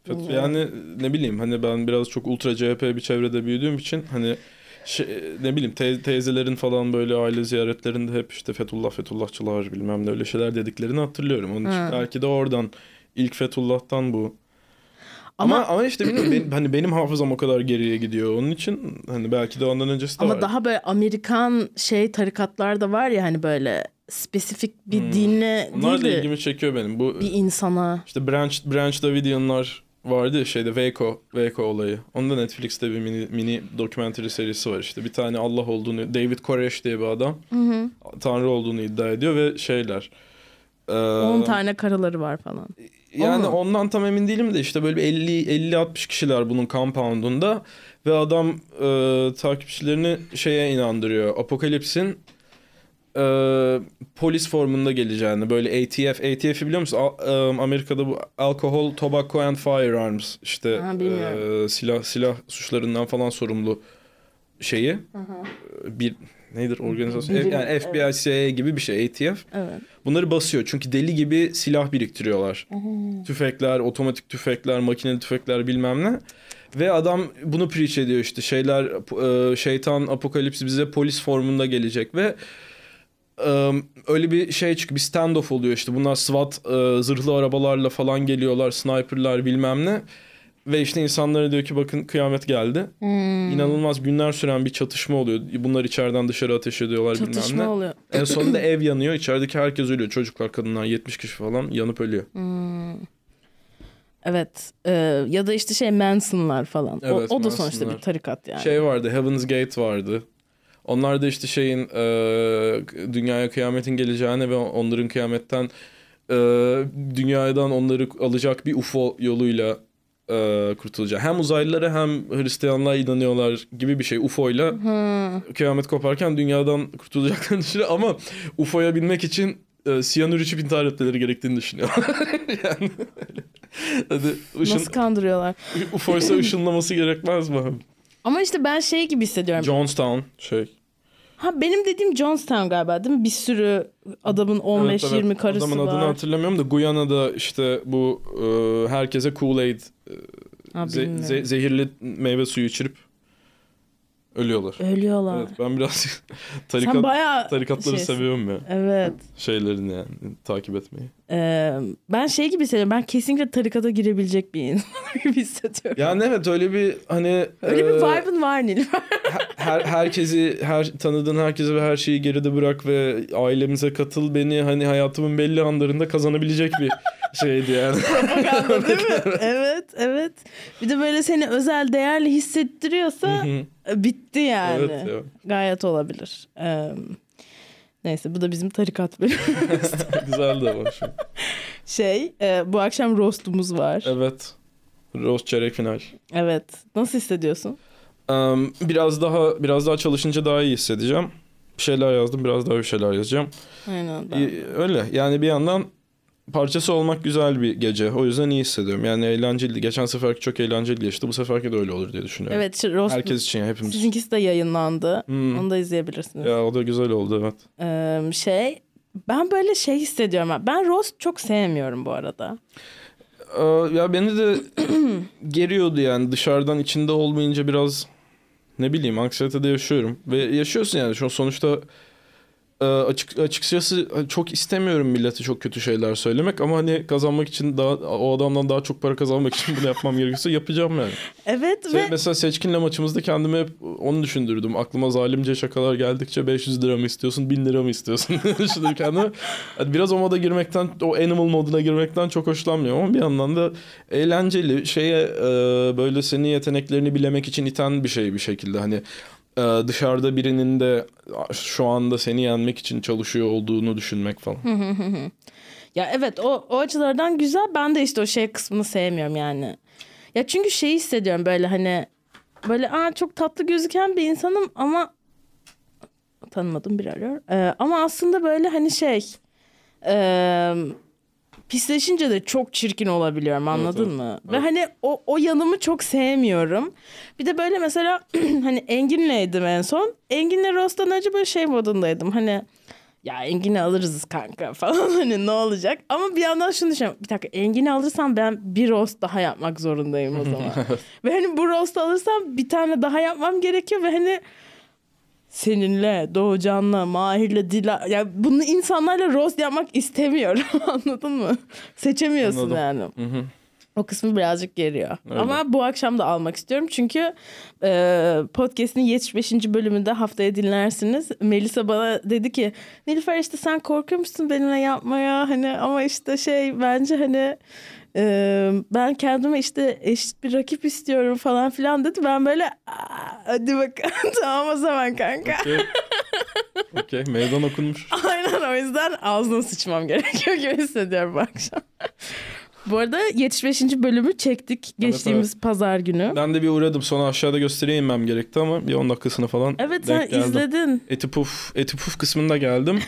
[SPEAKER 2] Fet-
[SPEAKER 1] Bilmiyorum.
[SPEAKER 2] Yani ne bileyim hani ben biraz çok ultra CHP bir çevrede büyüdüğüm için hani şey, ne bileyim te- teyzelerin falan böyle aile ziyaretlerinde hep işte Fethullah Fethullahçılar bilmem ne öyle şeyler dediklerini hatırlıyorum. Onun için
[SPEAKER 1] Ha.
[SPEAKER 2] belki de oradan ilk Fethullah'tan bu. Ama
[SPEAKER 1] Ama
[SPEAKER 2] ama, işte bilmiyorum ben- hani benim hafızam o kadar geriye gidiyor. Onun için hani belki de ondan öncesi de
[SPEAKER 1] Ama
[SPEAKER 2] var.
[SPEAKER 1] daha böyle Amerikan şey tarikatlar da var ya hani böyle spesifik bir
[SPEAKER 2] Hmm.
[SPEAKER 1] dinle
[SPEAKER 2] Onlar da
[SPEAKER 1] değil de
[SPEAKER 2] ilgimi çekiyor benim. Bu
[SPEAKER 1] bir insana.
[SPEAKER 2] İşte Branch, Branch Davidianlar vardı ya şeyde Waco, Waco olayı. Onun da Netflix'te bir mini, mini dokumentary serisi var işte. Bir tane Allah olduğunu, David Koresh diye bir adam
[SPEAKER 1] Hı hı.
[SPEAKER 2] Tanrı olduğunu iddia ediyor ve şeyler. Ee,
[SPEAKER 1] 10 tane karıları var falan.
[SPEAKER 2] yani
[SPEAKER 1] Ama-
[SPEAKER 2] ondan tam emin değilim de işte böyle bir 50 50 60 kişiler bunun compound'unda ve adam e, takipçilerini şeye inandırıyor. Apokalips'in e, polis formunda geleceğini böyle ATF ATF'i biliyor musun? Al- e, Amerika'da bu alkohol, tobacco and firearms işte
[SPEAKER 1] Ha, bilmiyorum.
[SPEAKER 2] e, silah silah suçlarından falan sorumlu şeyi. E, Bir nedir organizasyon?
[SPEAKER 1] Birim,
[SPEAKER 2] yani FBI, CIA gibi bir şey ATF.
[SPEAKER 1] Evet.
[SPEAKER 2] Bunları basıyor çünkü deli gibi silah biriktiriyorlar. Tüfekler, otomatik tüfekler, makineli tüfekler bilmem ne. Ve adam bunu preach ediyor işte şeyler e, şeytan apokalips bize polis formunda gelecek ve e, öyle bir şey çık bir standoff oluyor işte bunlar SWAT e, zırhlı arabalarla falan geliyorlar sniperlar bilmem ne ve işte insanlara diyor ki bakın kıyamet geldi Hmm. inanılmaz günler süren bir çatışma oluyor bunlar içeriden dışarı ateş ediyorlar bilmem ne.
[SPEAKER 1] Çatışma oluyor.
[SPEAKER 2] En sonunda ev yanıyor. İçerideki herkes ölüyor. Çocuklar, kadınlar 70 kişi falan yanıp ölüyor.
[SPEAKER 1] Hmm. Evet. Ee, ya da işte şey Manson'lar falan. O-
[SPEAKER 2] Evet,
[SPEAKER 1] o, da sonuçta
[SPEAKER 2] Manson'lar.
[SPEAKER 1] bir tarikat yani.
[SPEAKER 2] Şey vardı Heaven's Gate vardı. Onlar da işte şeyin e, dünyaya kıyametin geleceğine ve onların kıyametten e, dünyadan onları alacak bir UFO yoluyla e, kurtulacak. Hem uzaylılara hem Hristiyanlığa inanıyorlar gibi bir şey UFO'yla
[SPEAKER 1] Hı.
[SPEAKER 2] kıyamet koparken dünyadan kurtulacaklarını düşünüyor ama UFO'ya binmek için e, siyanür içip intihar etmeleri gerektiğini düşünüyor. yani hadi ışın,
[SPEAKER 1] Nasıl kandırıyorlar?
[SPEAKER 2] UFO ise ışınlaması gerekmez mi?
[SPEAKER 1] Ama işte ben şey gibi hissediyorum.
[SPEAKER 2] Johnstown şey.
[SPEAKER 1] ha benim dediğim Johnstown galiba değil mi? Bir sürü adamın 15-20
[SPEAKER 2] Evet, evet.
[SPEAKER 1] karısı
[SPEAKER 2] Adamın
[SPEAKER 1] var.
[SPEAKER 2] adını hatırlamıyorum da Guyana'da işte bu e, herkese Kool-Aid e,
[SPEAKER 1] Ha,
[SPEAKER 2] ze-
[SPEAKER 1] bilmiyorum.
[SPEAKER 2] ze- zehirli meyve suyu içirip ölüyorlar.
[SPEAKER 1] Ölüyorlar.
[SPEAKER 2] Evet ben biraz tarikat
[SPEAKER 1] Sen şey- bayağı
[SPEAKER 2] tarikatları
[SPEAKER 1] şeysin.
[SPEAKER 2] seviyorum ya.
[SPEAKER 1] Evet.
[SPEAKER 2] Şeylerini yani takip etmeyi.
[SPEAKER 1] Ee, ben şey gibi hissediyorum. Ben kesinlikle tarikata girebilecek bir insan gibi hissediyorum.
[SPEAKER 2] Yani evet öyle bir hani
[SPEAKER 1] Öyle
[SPEAKER 2] e,
[SPEAKER 1] bir vibe'ın var Nil.
[SPEAKER 2] her herkesi her tanıdığın herkesi ve her şeyi geride bırak ve ailemize katıl beni hani hayatımın belli anlarında kazanabilecek bir şeydi yani.
[SPEAKER 1] Propaganda değil mi? evet, evet. Bir de böyle seni özel değerli hissettiriyorsa e, bitti yani.
[SPEAKER 2] Evet ya.
[SPEAKER 1] Gayet olabilir. Ee, neyse bu da bizim tarikat bölümü.
[SPEAKER 2] Güzeldi ama şimdi.
[SPEAKER 1] şey, e, bu akşam roastumuz var. Evet.
[SPEAKER 2] Evet. Roast çeyrek final.
[SPEAKER 1] Nasıl hissediyorsun?
[SPEAKER 2] Em, biraz daha biraz daha çalışınca daha iyi hissedeceğim. Bir şeyler yazdım, biraz daha bir şeyler yazacağım.
[SPEAKER 1] Aynen. ben-
[SPEAKER 2] İyi- Öyle. Yani bir yandan parçası olmak güzel bir gece. O yüzden iyi hissediyorum. Yani eğlenceliydi. Geçen seferki çok eğlenceli geçti. Bu seferki de öyle olur diye düşünüyorum.
[SPEAKER 1] Evet, şu roast
[SPEAKER 2] Herkes için ya, hepimiz.
[SPEAKER 1] sizinkisi de yayınlandı.
[SPEAKER 2] Hmm.
[SPEAKER 1] Onu da izleyebilirsiniz.
[SPEAKER 2] Ya o da güzel oldu evet.
[SPEAKER 1] Ee, şey, ben böyle şey hissediyorum. ha. Ben roast çok sevmiyorum bu arada.
[SPEAKER 2] Ee, ya beni de geriyordu yani dışarıdan içinde olmayınca biraz ne bileyim anksiyetede yaşıyorum ve yaşıyorsun yani şu sonuçta e, açık açıkçası e, çok istemiyorum millete çok kötü şeyler söylemek ama hani kazanmak için daha o adamdan daha çok para kazanmak için bunu yapmam gerekiyorsa yapacağım yani.
[SPEAKER 1] Evet
[SPEAKER 2] Şey,
[SPEAKER 1] ve
[SPEAKER 2] mesela seçkinle maçımızda kendime hep onu düşündürdüm. Aklıma zalimce şakalar geldikçe 500 lira mı istiyorsun, 1000 lira mı istiyorsun diye düşündüm kendime. Hani biraz o moda girmekten, o animal moduna girmekten çok hoşlanmıyorum ama bir yandan da eğlenceli. Şeye e, böyle senin yeteneklerini bilemek için iten bir şey bir şekilde. Hani e, dışarıda birinin de şu anda seni yenmek için çalışıyor olduğunu düşünmek falan.
[SPEAKER 1] Ya evet o, o açılardan güzel. Ben de işte o şey kısmını sevmiyorum yani. Ya çünkü şey hissediyorum böyle hani böyle aa çok tatlı gözüken bir insanım ama tanımadım bir arıyor. Ee, ama aslında böyle hani şey eee, pisleşince de çok çirkin olabiliyorum anladın
[SPEAKER 2] evet.
[SPEAKER 1] mı? Ve
[SPEAKER 2] Evet.
[SPEAKER 1] hani o, o yanımı çok sevmiyorum. Bir de böyle mesela hani Engin'leydim en son. Engin'le Rostan önce böyle şey modundaydım. Hani ya Engin'i alırız kanka falan hani ne olacak? Ama bir yandan şunu düşünüyorum. Bir dakika Engin'i alırsam ben bir roast daha yapmak zorundayım o zaman. ve hani bu roast alırsam bir tane daha yapmam gerekiyor ve hani seninle, Doğucan'la, Mahir'le, Dila... Ya bunu insanlarla roast yapmak istemiyorum anladın mı? Seçemiyorsun
[SPEAKER 2] Anladım.
[SPEAKER 1] yani.
[SPEAKER 2] Hı hı.
[SPEAKER 1] O kısmı birazcık geliyor.
[SPEAKER 2] Öyle.
[SPEAKER 1] Ama bu akşam da almak istiyorum. Çünkü e, podcast'in 75. bölümünde haftaya dinlersiniz. Melisa bana dedi ki Nilüfer işte sen korkuyor musun benimle yapmaya? Hani ama işte şey bence hani e, ben kendime işte eşit bir rakip istiyorum falan filan dedi. Ben böyle "Aa, hadi bakalım tamam o zaman kanka.
[SPEAKER 2] Okey. Okey, meydan okunmuş.
[SPEAKER 1] Aynen o yüzden ağzına sıçmam gerekiyor gibi hissediyorum bu akşam. bu arada 75. bölümü çektik geçtiğimiz pazar günü.
[SPEAKER 2] Ben de bir uğradım. Sonra aşağıda gösteriye inmem gerekti ama bir 10 dakikasını falan
[SPEAKER 1] Evet sen
[SPEAKER 2] denk geldim.
[SPEAKER 1] izledin.
[SPEAKER 2] Eti puf, eti puf kısmında geldim.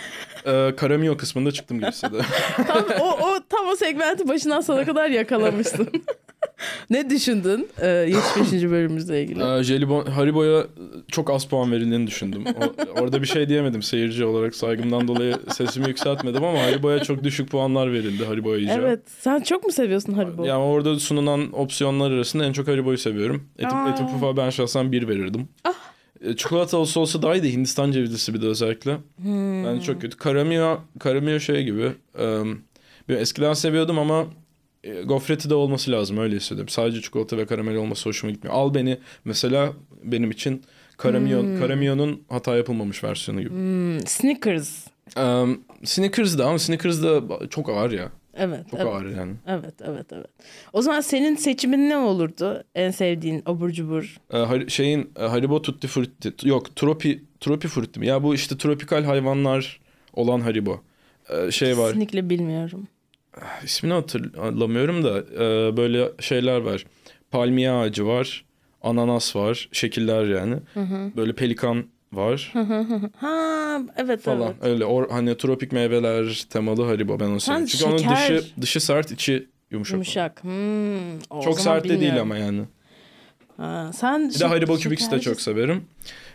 [SPEAKER 2] ee, Karamiyo kısmında çıktım gerisi de.
[SPEAKER 1] Tam o, o tam o segmenti başından sona kadar yakalamışsın. ne düşündün e, 75. bölümümüzle ilgili?
[SPEAKER 2] Ee, Jelibon, Haribo'ya çok az puan verildiğini düşündüm. O- orada bir şey diyemedim seyirci olarak saygımdan dolayı sesimi yükseltmedim ama Haribo'ya çok düşük puanlar verildi Haribo'ya yiyeceğim.
[SPEAKER 1] Evet. Sen çok mu seviyorsun Haribo?
[SPEAKER 2] Yani orada sunulan opsiyonlar arasında en çok Haribo'yu seviyorum. Eti,
[SPEAKER 1] Aa. Ah.
[SPEAKER 2] eti puf'a ben şahsen bir verirdim. Ee, Çikolatalı sosu daha iyi de Hindistan cevizlisi bir de özellikle.
[SPEAKER 1] Hmm.
[SPEAKER 2] Bence çok kötü. Karamiyo, karamiyo şey gibi. em, bir eskiden seviyordum ama e, gofreti de olması lazım öyle hissediyorum. Sadece çikolata ve karamel olması hoşuma gitmiyor. Al beni mesela benim için karamiyo, karamiyo'nun hata yapılmamış versiyonu gibi.
[SPEAKER 1] Hmm, Snickers.
[SPEAKER 2] Em, Snickers da ama Snickers da çok ağır ya.
[SPEAKER 1] Evet.
[SPEAKER 2] Çok
[SPEAKER 1] evet.
[SPEAKER 2] ağır yani.
[SPEAKER 1] Evet, evet, evet. O zaman senin seçimin ne olurdu? En sevdiğin abur cubur.
[SPEAKER 2] E, har- şeyin e, Haribo Tutti Frutti yok Tropi Tropi Frutti mi? Ya bu işte tropikal hayvanlar olan Haribo. E, şey var.
[SPEAKER 1] Kesinlikle bilmiyorum.
[SPEAKER 2] İsmini hatırlamıyorum da e, böyle şeyler var. Palmiye ağacı var, ananas var, şekiller yani. Böyle pelikan var
[SPEAKER 1] Ha evet
[SPEAKER 2] falan.
[SPEAKER 1] evet.
[SPEAKER 2] Öyle or, hani tropik meyveler temalı Haribo ben onu seviyorum. Çünkü onun
[SPEAKER 1] şeker-
[SPEAKER 2] dışı dışı sert, içi yumuşak.
[SPEAKER 1] Yumuşak. Hmm, o
[SPEAKER 2] Çok
[SPEAKER 1] zaman
[SPEAKER 2] sert de değil
[SPEAKER 1] bilmiyorum.
[SPEAKER 2] ama yani.
[SPEAKER 1] Ha, sen
[SPEAKER 2] Bir de Haribo Cubics'i de çok severim.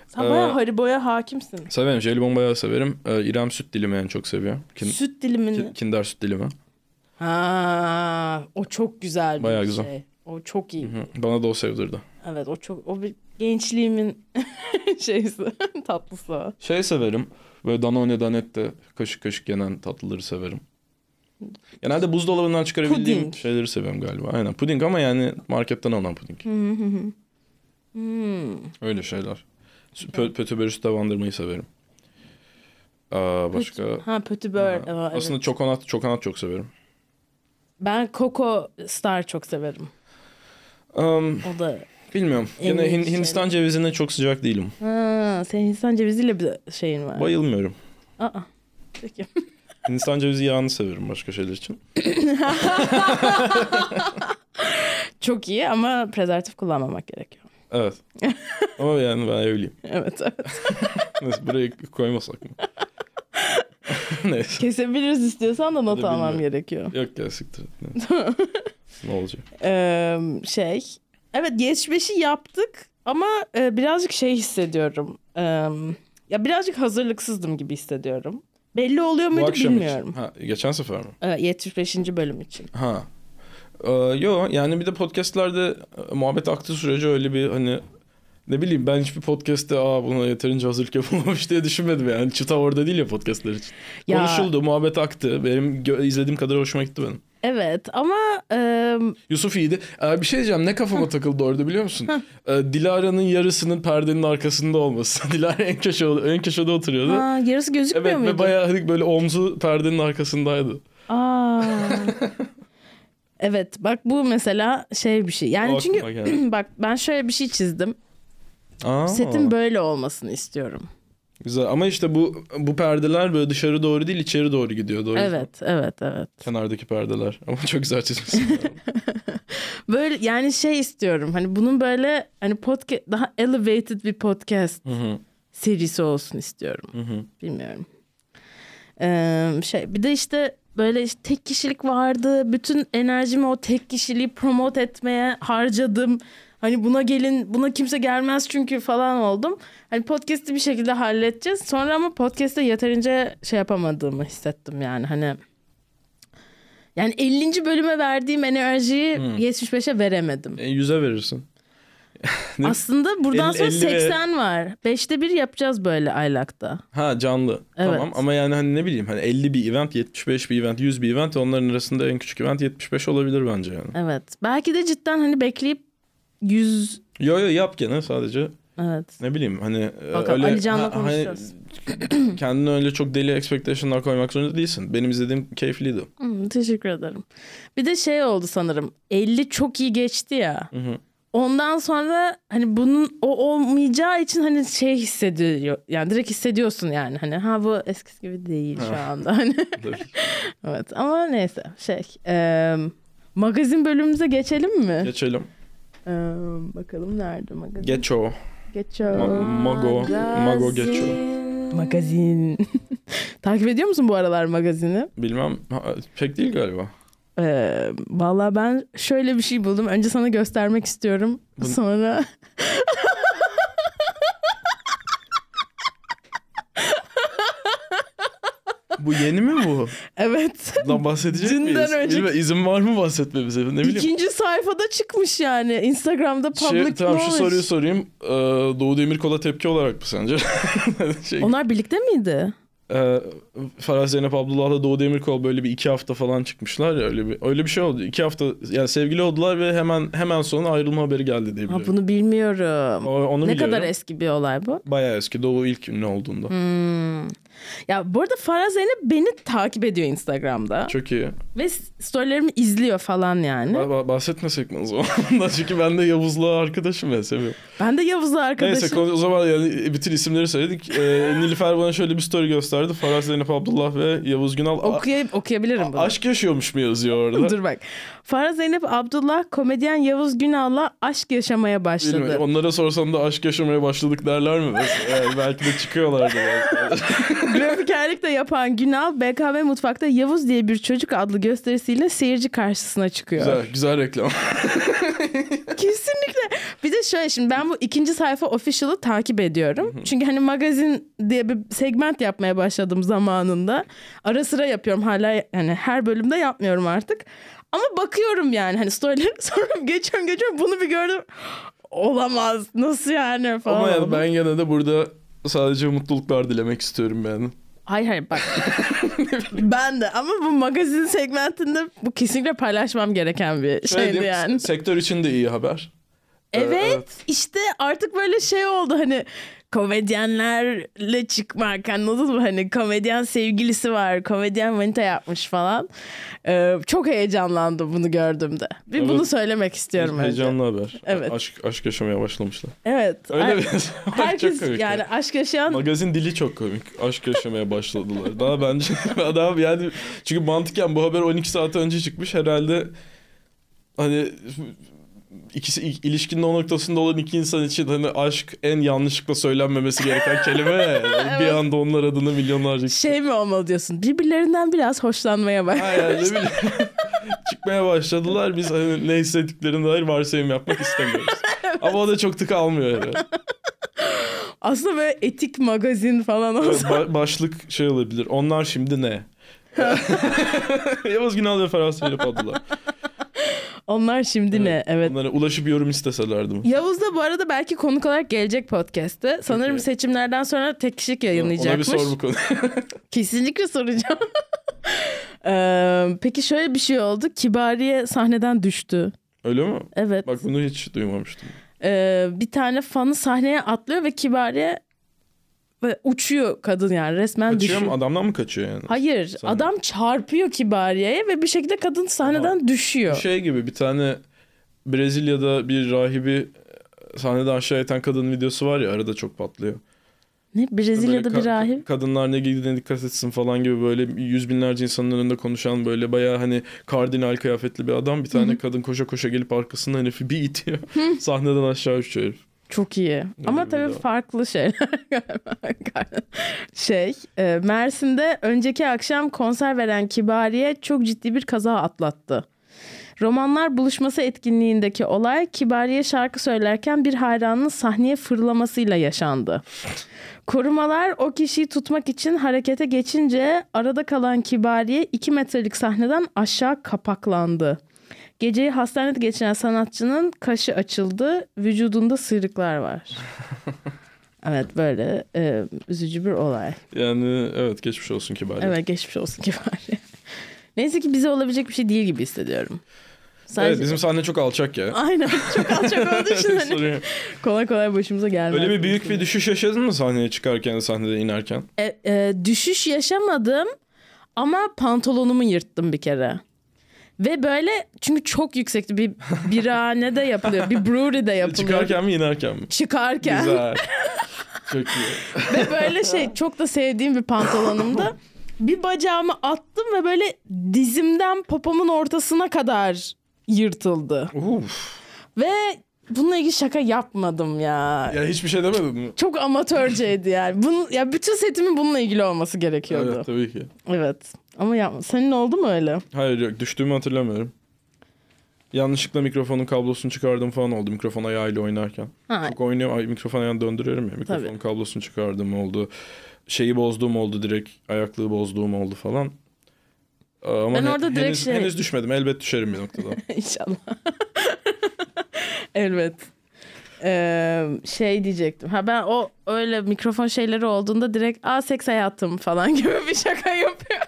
[SPEAKER 1] Sen
[SPEAKER 2] Ee,
[SPEAKER 1] bayağı Haribo'ya hakimsin.
[SPEAKER 2] Severim. Jelibon bayağı severim. E, İrem süt dilimi en çok seviyor. Kin,
[SPEAKER 1] Süt dilimini.
[SPEAKER 2] ki- kinder süt dilimi.
[SPEAKER 1] Ha, o çok güzel bir
[SPEAKER 2] Bayağı
[SPEAKER 1] şey.
[SPEAKER 2] güzel.
[SPEAKER 1] O çok iyi.
[SPEAKER 2] Hı, Bana da o sevdirdi.
[SPEAKER 1] Evet o çok o bir gençliğimin şeysi tatlısı.
[SPEAKER 2] Şey severim. Böyle Danone Danette kaşık kaşık yenen tatlıları severim. Genelde buzdolabından çıkarabildiğim
[SPEAKER 1] Puding.
[SPEAKER 2] şeyleri seviyorum galiba. Aynen puding ama yani marketten alınan puding.
[SPEAKER 1] Hmm.
[SPEAKER 2] Öyle şeyler. Sü- Pö, pötübör üstü bandırmayı severim. Aa, başka...
[SPEAKER 1] Ha pötibör. Aa, evet.
[SPEAKER 2] Aslında çokonat, çokonat çok severim.
[SPEAKER 1] Ben Coco Star çok severim.
[SPEAKER 2] Um,
[SPEAKER 1] O da.
[SPEAKER 2] bilmiyorum.
[SPEAKER 1] En şey.
[SPEAKER 2] Yine
[SPEAKER 1] iyi
[SPEAKER 2] Hin- Hindistan cevizine çok sıcak değilim.
[SPEAKER 1] Ha, senin Hindistan ceviziyle bir şeyin var.
[SPEAKER 2] Bayılmıyorum.
[SPEAKER 1] Aa. Peki.
[SPEAKER 2] Hindistan cevizi yağını severim başka şeyler için.
[SPEAKER 1] Çok iyi ama prezervatif kullanmamak gerekiyor.
[SPEAKER 2] Evet. Ama yani ben evliyim.
[SPEAKER 1] Evet. evet.
[SPEAKER 2] Neyse buraya koymasak mı? Neyse.
[SPEAKER 1] Kesebiliriz istiyorsan da not
[SPEAKER 2] Da
[SPEAKER 1] almam
[SPEAKER 2] bilmiyorum.
[SPEAKER 1] gerekiyor.
[SPEAKER 2] Yok ya siktir. Ne, ne olacak?
[SPEAKER 1] Ee, şey. Evet geç beşi yaptık ama e, birazcık şey hissediyorum. Ee, ya birazcık hazırlıksızdım gibi hissediyorum. Belli oluyor
[SPEAKER 2] Bu
[SPEAKER 1] muydu
[SPEAKER 2] akşam için.
[SPEAKER 1] bilmiyorum.
[SPEAKER 2] Ha, geçen sefer mi?
[SPEAKER 1] Ee, 75. bölüm için.
[SPEAKER 2] Ha. Ee, yo yani bir de podcastlerde e, muhabbet aktığı sürece öyle bir hani ne bileyim ben hiçbir podcast'te aa buna yeterince hazırlık yapılmamış diye düşünmedim yani. Çıta orada değil ya podcastler için.
[SPEAKER 1] Ya-
[SPEAKER 2] Konuşuldu, muhabbet aktı. Benim gö- izlediğim kadar hoşuma gitti benim.
[SPEAKER 1] Evet ama e,
[SPEAKER 2] Yusuf iyiydi. Ee, bir şey diyeceğim ne kafama takıldı orada biliyor musun? Ee, Dilara'nın yarısının perdenin arkasında olması. Dilara en köşede, en köşede oturuyordu.
[SPEAKER 1] ha, yarısı gözükmüyor
[SPEAKER 2] evet
[SPEAKER 1] muydu?
[SPEAKER 2] ve bayağı hani böyle omzu perdenin arkasındaydı.
[SPEAKER 1] Aa. evet bak bu mesela şey bir şey. Yani
[SPEAKER 2] O aklıma
[SPEAKER 1] çünkü
[SPEAKER 2] geldi.
[SPEAKER 1] bak ben şöyle bir şey çizdim.
[SPEAKER 2] Aa.
[SPEAKER 1] Setin böyle olmasını istiyorum.
[SPEAKER 2] Güzel ama işte bu bu perdeler böyle dışarı doğru değil içeri doğru gidiyor. Doğru.
[SPEAKER 1] Evet, evet, evet.
[SPEAKER 2] Kenardaki perdeler. Ama çok güzel çizmişsin.
[SPEAKER 1] Böyle yani şey istiyorum. Hani bunun böyle hani podcast daha elevated bir podcast
[SPEAKER 2] Hı hı,
[SPEAKER 1] serisi olsun istiyorum.
[SPEAKER 2] hı hı.
[SPEAKER 1] Bilmiyorum. Ee, şey bir de işte böyle işte tek kişilik vardı. Bütün enerjimi o tek kişiliği promote etmeye harcadım. Hani buna gelin buna kimse gelmez çünkü falan oldum. Hani podcast'i bir şekilde halledeceğiz. Sonra ama podcast'te yeterince şey yapamadığımı hissettim yani hani. Yani 50. bölüme verdiğim enerjiyi
[SPEAKER 2] Hmm.
[SPEAKER 1] 75'e veremedim.
[SPEAKER 2] e, yüze verirsin. Ne-
[SPEAKER 1] Aslında buradan
[SPEAKER 2] Elli-
[SPEAKER 1] sonra
[SPEAKER 2] elli ve-
[SPEAKER 1] 80 var. 5'te 1 yapacağız böyle aylakta.
[SPEAKER 2] Ha canlı. Tamam
[SPEAKER 1] Evet.
[SPEAKER 2] ama yani hani ne bileyim hani 50 bir event, 75 bir event, 100 bir event onların arasında en küçük event 75 olabilir bence yani.
[SPEAKER 1] Evet. Belki de cidden hani bekleyip 100
[SPEAKER 2] Yo yo yap gene sadece
[SPEAKER 1] evet.
[SPEAKER 2] ne bileyim hani e,
[SPEAKER 1] Bakalım,
[SPEAKER 2] öyle
[SPEAKER 1] Ali Can'la
[SPEAKER 2] ha- hani
[SPEAKER 1] konuşacağız.
[SPEAKER 2] kendine öyle çok deli expectation'lar koymak zorunda değilsin. Benim izlediğim keyifliydi.
[SPEAKER 1] Hmm, teşekkür ederim. Bir de şey oldu sanırım. 50 çok iyi geçti ya.
[SPEAKER 2] Hı hı.
[SPEAKER 1] Ondan sonra hani bunun o olmayacağı için hani şey hissediyor. Yani direkt hissediyorsun yani hani ha bu eskisi gibi değil şu
[SPEAKER 2] Ha.
[SPEAKER 1] anda. Hani evet ama neyse şey eee, magazin bölümümüze geçelim mi?
[SPEAKER 2] Geçelim.
[SPEAKER 1] Eee, bakalım nerede magazin?
[SPEAKER 2] Geç o.
[SPEAKER 1] Geço.
[SPEAKER 2] Ma- Mago. Mago Geço.
[SPEAKER 1] Magazin. Takip ediyor musun bu aralar magazini?
[SPEAKER 2] Bilmem ha, pek değil galiba.
[SPEAKER 1] Ee, Valla ben şöyle bir şey buldum. Önce sana göstermek istiyorum.
[SPEAKER 2] Bu-
[SPEAKER 1] Sonra...
[SPEAKER 2] Bu yeni mi bu?
[SPEAKER 1] evet.
[SPEAKER 2] Lan bahsedecek
[SPEAKER 1] Dünden
[SPEAKER 2] miyiz?
[SPEAKER 1] önceki-
[SPEAKER 2] Bilmiyorum, izin var mı bahsetmemize? Ne bileyim.
[SPEAKER 1] İkinci sayfada çıkmış yani. Instagram'da
[SPEAKER 2] Şey,
[SPEAKER 1] public
[SPEAKER 2] tamam şu
[SPEAKER 1] knowledge.
[SPEAKER 2] soruyu sorayım. Ee, Doğu Demirkol'a tepki olarak mı sence? şey,
[SPEAKER 1] Onlar birlikte miydi?
[SPEAKER 2] e, Farah Zeynep Abdullah'la Doğu Demirkol böyle bir iki hafta falan çıkmışlar ya öyle bir öyle bir şey oldu. İki hafta yani sevgili oldular ve hemen hemen sonra ayrılma haberi geldi diye
[SPEAKER 1] Ha,
[SPEAKER 2] biliyorum.
[SPEAKER 1] bunu bilmiyorum.
[SPEAKER 2] O- Onu
[SPEAKER 1] ne
[SPEAKER 2] biliyorum.
[SPEAKER 1] kadar eski bir olay bu?
[SPEAKER 2] Bayağı eski Doğu ilk ünlü olduğunda.
[SPEAKER 1] Hmm. Ya bu arada Farah Zeynep beni takip ediyor Instagram'da.
[SPEAKER 2] Çok iyi.
[SPEAKER 1] Ve storylerimi izliyor falan yani.
[SPEAKER 2] Ba- ba- bahsetmesek mi o zaman? Ondan? Çünkü ben de Yavuz'la arkadaşım ben seviyorum.
[SPEAKER 1] Ben de Yavuz'la
[SPEAKER 2] Neyse
[SPEAKER 1] arkadaşım.
[SPEAKER 2] konu- o zaman yani bütün isimleri söyledik. Ee, Nilüfer bana şöyle bir story gösterdi. Farah Zeynep Abdullah ve Yavuz Günal. A-
[SPEAKER 1] Okuyayım, okuyabilirim bunu.
[SPEAKER 2] aşk yaşıyormuş mu yazıyor orada?
[SPEAKER 1] Dur bak. Farah Zeynep Abdullah komedyen Yavuz Günal'la aşk yaşamaya başladı.
[SPEAKER 2] Bilmiyorum. Onlara sorsan da aşk yaşamaya başladık derler mi? Bes- Yani belki de çıkıyorlardı. belki.
[SPEAKER 1] Grafikerlik de yapan Günal BKM Mutfak'ta Yavuz diye bir çocuk adlı gösterisiyle seyirci karşısına çıkıyor.
[SPEAKER 2] güzel, güzel reklam.
[SPEAKER 1] Kesinlikle. Bir de şöyle şimdi ben bu ikinci sayfa official'ı takip ediyorum. Çünkü hani magazin diye bir segment yapmaya başladım zamanında. Ara sıra yapıyorum hala yani her bölümde yapmıyorum artık. Ama bakıyorum yani hani storyleri sonra geçiyorum geçiyorum bunu bir gördüm. Olamaz nasıl yani falan.
[SPEAKER 2] Ama yani
[SPEAKER 1] oldum.
[SPEAKER 2] ben gene de burada sadece mutluluklar dilemek istiyorum yani.
[SPEAKER 1] Hayır hayır bak. ben de ama bu magazin segmentinde bu kesinlikle paylaşmam gereken bir
[SPEAKER 2] Şöyle
[SPEAKER 1] şeydi
[SPEAKER 2] diyeyim,
[SPEAKER 1] yani.
[SPEAKER 2] Sektör için de iyi haber. Ee,
[SPEAKER 1] Evet işte artık böyle şey oldu hani komedyenlerle çıkmak anladın mı? Hani komedyen sevgilisi var, komedyen manita yapmış falan. Ee, çok heyecanlandım bunu gördüğümde. Bir
[SPEAKER 2] Evet.
[SPEAKER 1] bunu söylemek istiyorum. önce.
[SPEAKER 2] Heyecanlı haber.
[SPEAKER 1] Evet.
[SPEAKER 2] Aşk, aşk yaşamaya başlamışlar.
[SPEAKER 1] Evet.
[SPEAKER 2] Öyle
[SPEAKER 1] Ay-
[SPEAKER 2] bir
[SPEAKER 1] Herkes
[SPEAKER 2] çok komik.
[SPEAKER 1] yani aşk yaşayan
[SPEAKER 2] Magazin dili çok komik. Aşk yaşamaya başladılar. Daha bence adam yani çünkü mantıken bu haber 12 saat önce çıkmış herhalde hani ikisi il- ilişkinin o noktasında olan iki insan için hani aşk en yanlışlıkla söylenmemesi gereken kelime. Bir anda onlar adına milyonlarca kişi-
[SPEAKER 1] şey mi olmalı diyorsun. Birbirlerinden biraz hoşlanmaya bak.
[SPEAKER 2] Aynen, ne bileyim. çıkmaya başladılar. Biz hani ne hissettiklerine dair varsayım yapmak istemiyoruz. Ama o da çok tık almıyor herhalde.
[SPEAKER 1] Aslında böyle etik magazin falan olsa.
[SPEAKER 2] Ba- başlık şey olabilir. Onlar şimdi ne? Yavuz Günal ve Ferhat Seyir'e paddılar.
[SPEAKER 1] Onlar şimdi ne? Evet.
[SPEAKER 2] Onlara ulaşıp yorum isteselerdi. mi?
[SPEAKER 1] Yavuz da bu arada belki konuk olarak gelecek podcast'te. Sanırım
[SPEAKER 2] Peki.
[SPEAKER 1] seçimlerden sonra tek kişilik
[SPEAKER 2] Ona bir
[SPEAKER 1] yayınlayacakmış.
[SPEAKER 2] sor bu konu.
[SPEAKER 1] Kesinlikle soracağım. Ee, peki şöyle bir şey oldu. Kibariye sahneden düştü.
[SPEAKER 2] Öyle mi?
[SPEAKER 1] Evet.
[SPEAKER 2] Bak bunu hiç duymamıştım.
[SPEAKER 1] Ee, bir tane fanı sahneye atlıyor ve Kibariye ve uçuyor kadın yani resmen
[SPEAKER 2] Kaçıyor
[SPEAKER 1] düşüyor.
[SPEAKER 2] mu? Adamdan mı kaçıyor yani?
[SPEAKER 1] Hayır
[SPEAKER 2] Sahne.
[SPEAKER 1] adam çarpıyor Kibariye'ye ve bir şekilde kadın sahneden düşüyor.
[SPEAKER 2] Şey gibi bir tane Brezilya'da bir rahibi sahnede aşağı iten kadın videosu var ya arada çok patlıyor. şey-
[SPEAKER 1] Ne Brezilya'da
[SPEAKER 2] Böyle
[SPEAKER 1] bir
[SPEAKER 2] ka-
[SPEAKER 1] rahip?
[SPEAKER 2] Kadınlar ne giydiğine dikkat etsin falan gibi böyle yüz binlerce insanın önünde konuşan böyle bayağı hani kardinal kıyafetli bir adam. Bir tane kadın koşa koşa gelip arkasından herifi bir itiyor. Sahneden aşağı uçuyor herif.
[SPEAKER 1] Çok iyi. Ama
[SPEAKER 2] bir
[SPEAKER 1] tabii
[SPEAKER 2] video.
[SPEAKER 1] farklı şeyler. şey, e, Mersin'de önceki akşam konser veren Kibariye çok ciddi bir kaza atlattı. Romanlar buluşması etkinliğindeki olay Kibariye şarkı söylerken bir hayranın sahneye fırlamasıyla yaşandı. Korumalar o kişiyi tutmak için harekete geçince arada kalan Kibariye 2 metrelik sahneden aşağı kapaklandı. Geceyi hastanede geçiren sanatçının kaşı açıldı, vücudunda sıyrıklar var. evet böyle e, üzücü bir olay.
[SPEAKER 2] Yani evet geçmiş olsun ki bari. Evet,
[SPEAKER 1] Evet geçmiş olsun Kibariye. Neyse ki bize olabilecek bir şey değil gibi hissediyorum. Sadece...
[SPEAKER 2] bizim sahne çok alçak ya.
[SPEAKER 1] Aynen çok alçak olduğu için hani
[SPEAKER 2] Sorun yok.
[SPEAKER 1] kolay kolay başımıza gelmez.
[SPEAKER 2] Öyle bir büyük bir düşüş yaşadın mı sahneye çıkarken sahneden inerken?
[SPEAKER 1] E, e, düşüş yaşamadım ama pantolonumu yırttım bir kere. Ve böyle çünkü çok yüksekti bir birhanede yapılıyor. Bir brewery'de yapılıyor.
[SPEAKER 2] Çıkarken mi inerken mi?
[SPEAKER 1] Çıkarken.
[SPEAKER 2] Güzel. çok iyi.
[SPEAKER 1] Ve böyle şey çok da sevdiğim bir pantolonumda bir bacağımı attım ve böyle dizimden popomun ortasına kadar yırtıldı.
[SPEAKER 2] Uf.
[SPEAKER 1] Ve bununla ilgili şaka yapmadım ya.
[SPEAKER 2] Ya hiçbir şey demedin mi?
[SPEAKER 1] Çok amatörceydi yani. Bunun, ya bütün setimin bununla ilgili olması gerekiyordu.
[SPEAKER 2] Evet
[SPEAKER 1] Evet.
[SPEAKER 2] tabii ki.
[SPEAKER 1] Ama yapma. Senin oldu mu öyle?
[SPEAKER 2] Hayır yok düştüğümü hatırlamıyorum. Yanlışlıkla mikrofonun kablosunu çıkardım falan oldu mikrofon ayağıyla oynarken.
[SPEAKER 1] Ha,
[SPEAKER 2] Çok oynuyorum ay, mikrofon ayağını döndürüyorum ya mikrofonun
[SPEAKER 1] Tabii.
[SPEAKER 2] kablosunu çıkardım oldu. Şeyi bozduğum oldu direkt ayaklığı bozduğum oldu falan. Aa, Ama
[SPEAKER 1] Ben
[SPEAKER 2] he-
[SPEAKER 1] orada direkt
[SPEAKER 2] henüz,
[SPEAKER 1] şey-
[SPEAKER 2] henüz düşmedim elbet düşerim bir noktada.
[SPEAKER 1] İnşallah. Elbet. Ee, şey diyecektim. Ha ben o öyle mikrofon şeyleri olduğunda direkt a seks hayatım falan gibi bir şaka yapıyorum.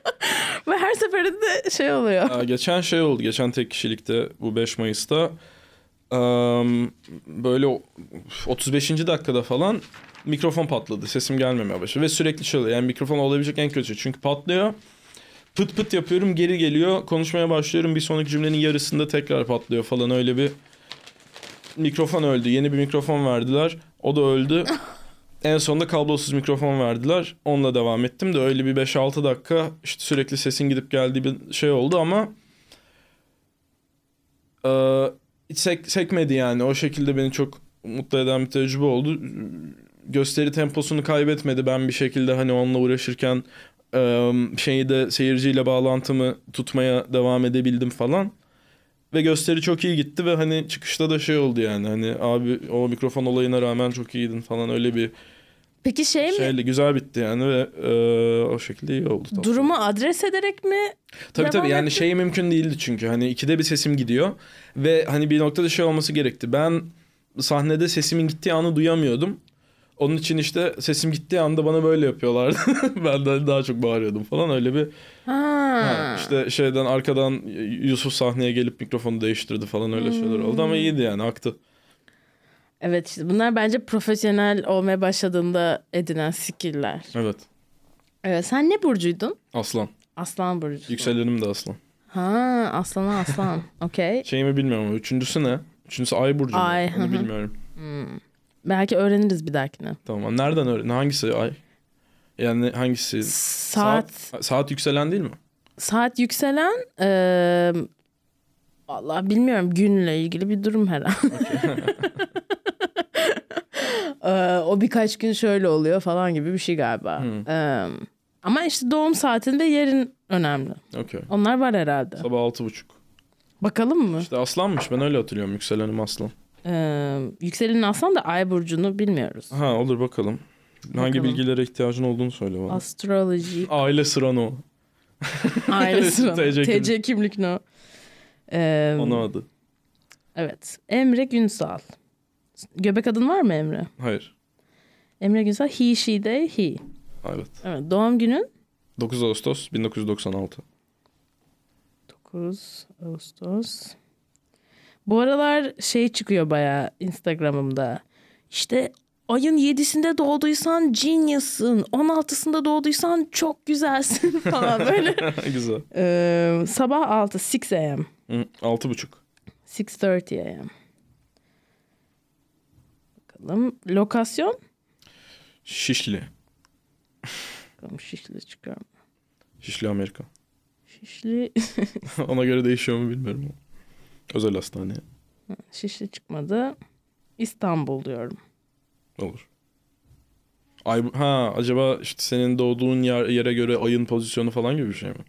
[SPEAKER 1] Ve her seferinde şey oluyor.
[SPEAKER 2] Aa, geçen şey oldu geçen tek kişilikte bu 5 Mayıs'ta am, böyle o- 35. dakikada falan mikrofon patladı sesim gelmemeye başladı ve sürekli çalıyor yani mikrofon olabilecek en kötü şey. çünkü patlıyor pıt pıt yapıyorum geri geliyor konuşmaya başlıyorum bir sonraki cümlenin yarısında tekrar patlıyor falan öyle bir mikrofon öldü yeni bir mikrofon verdiler o da öldü en sonunda kablosuz mikrofon verdiler onunla devam ettim de öyle bir 5-6 dakika işte sürekli sesin gidip geldiği bir şey oldu ama eee, hiç sek- sekmedi yani o şekilde beni çok mutlu eden bir tecrübe oldu gösteri temposunu kaybetmedi ben bir şekilde hani onunla uğraşırken eee, şeyi de seyirciyle bağlantımı tutmaya devam edebildim falan ve gösteri çok iyi gitti ve hani çıkışta da şey oldu yani hani abi o mikrofon olayına rağmen çok iyiydin falan öyle bir
[SPEAKER 1] Peki şey mi?
[SPEAKER 2] şeyle güzel bitti yani ve eee, o şekilde iyi oldu. tatlı.
[SPEAKER 1] Durumu adres ederek mi?
[SPEAKER 2] Tabii
[SPEAKER 1] Devam
[SPEAKER 2] tabii yani
[SPEAKER 1] ettim.
[SPEAKER 2] şey mümkün değildi çünkü hani ikide bir sesim gidiyor ve hani bir noktada şey olması gerekti. Ben sahnede sesimin gittiği anı duyamıyordum. Onun için işte sesim gittiği anda bana böyle yapıyorlardı. ben de hani daha çok bağırıyordum falan öyle bir. Ha, işte şeyden arkadan Yusuf sahneye gelip mikrofonu değiştirdi falan öyle şeyler oldu
[SPEAKER 1] Hmm.
[SPEAKER 2] ama iyiydi yani aktı.
[SPEAKER 1] Evet işte bunlar bence profesyonel olmaya başladığında edinen skill'ler.
[SPEAKER 2] Evet.
[SPEAKER 1] Evet sen ne burcuydun?
[SPEAKER 2] Aslan.
[SPEAKER 1] Aslan burcu.
[SPEAKER 2] Yükselenim de aslan.
[SPEAKER 1] Ha aslana aslan. Okey.
[SPEAKER 2] Şeyimi bilmiyorum ama üçüncüsü ne? Üçüncüsü ay burcu. mu?
[SPEAKER 1] Ay, hı
[SPEAKER 2] Onu
[SPEAKER 1] hı.
[SPEAKER 2] bilmiyorum.
[SPEAKER 1] Hmm. Belki öğreniriz bir dahakine.
[SPEAKER 2] Tamam. Nereden öğren? Hangisi ay? Yani hangisi?
[SPEAKER 1] Saat
[SPEAKER 2] Saat, saat yükselen değil mi?
[SPEAKER 1] saat yükselen eee vallahi bilmiyorum günle ilgili bir durum herhalde. Eee, o birkaç gün şöyle oluyor falan gibi bir şey galiba. Eee, ama işte doğum saatinde yerin önemli.
[SPEAKER 2] Okey.
[SPEAKER 1] Onlar var herhalde.
[SPEAKER 2] Sabah altı buçuk.
[SPEAKER 1] Bakalım mı?
[SPEAKER 2] İşte aslanmış ben öyle hatırlıyorum yükselenim aslan.
[SPEAKER 1] Eee yükselenin aslan da ay burcunu bilmiyoruz.
[SPEAKER 2] Ha olur bakalım. Hangi
[SPEAKER 1] Bakalım.
[SPEAKER 2] bilgilere ihtiyacın olduğunu söyle bana.
[SPEAKER 1] Astroloji
[SPEAKER 2] Aile sıran o.
[SPEAKER 1] aile
[SPEAKER 2] TC
[SPEAKER 1] sıralı.
[SPEAKER 2] kimlik.
[SPEAKER 1] TC kimlik no. Eee,
[SPEAKER 2] Ana adı.
[SPEAKER 1] Evet. Emre Günsal. Göbek adın var mı Emre?
[SPEAKER 2] Hayır.
[SPEAKER 1] Emre Günsal he she they he.
[SPEAKER 2] Evet.
[SPEAKER 1] Evet, doğum günün
[SPEAKER 2] 9 Ağustos 1996.
[SPEAKER 1] 9 Ağustos. Bu aralar şey çıkıyor bayağı Instagram'ımda. İşte ayın 7'sinde doğduysan genius'ın, 16'sında doğduysan çok güzelsin falan böyle.
[SPEAKER 2] Güzel.
[SPEAKER 1] Ee, sabah 6, 6 a.m.
[SPEAKER 2] Hı, Altı buçuk.
[SPEAKER 1] 6.30 a.m. Bakalım. Lokasyon?
[SPEAKER 2] Şişli.
[SPEAKER 1] Bakalım Şişli çıkıyor. mu?
[SPEAKER 2] Şişli Amerika.
[SPEAKER 1] Şişli
[SPEAKER 2] Ona göre değişiyor mu bilmiyorum. ama. Özel hastane.
[SPEAKER 1] Şişli çıkmadı. İstanbul diyorum.
[SPEAKER 2] Olur. Ay, ha acaba işte senin doğduğun yer, yere göre ayın pozisyonu falan gibi bir şey mi?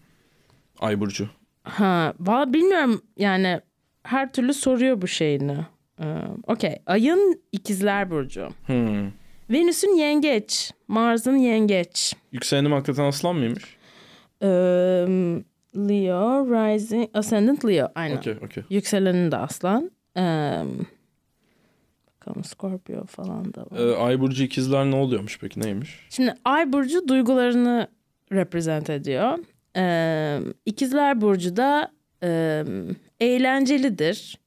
[SPEAKER 2] Ay burcu.
[SPEAKER 1] Ha, valla bilmiyorum yani her türlü soruyor bu şeyini. Ee, Okey. Ayın ikizler burcu.
[SPEAKER 2] Hmm.
[SPEAKER 1] Venüs'ün yengeç. Mars'ın yengeç.
[SPEAKER 2] Yükselenim hakikaten aslan mıymış?
[SPEAKER 1] Ee, Leo, Rising, Ascendant Leo. Aynen.
[SPEAKER 2] Okey okey.
[SPEAKER 1] Yükselenin de aslan. Ee, bakalım Scorpio falan da var.
[SPEAKER 2] Ee, ay burcu ikizler ne oluyormuş peki neymiş?
[SPEAKER 1] Şimdi Ay burcu duygularını reprezent ediyor. Ee, ikizler burcu da e, eğlencelidir.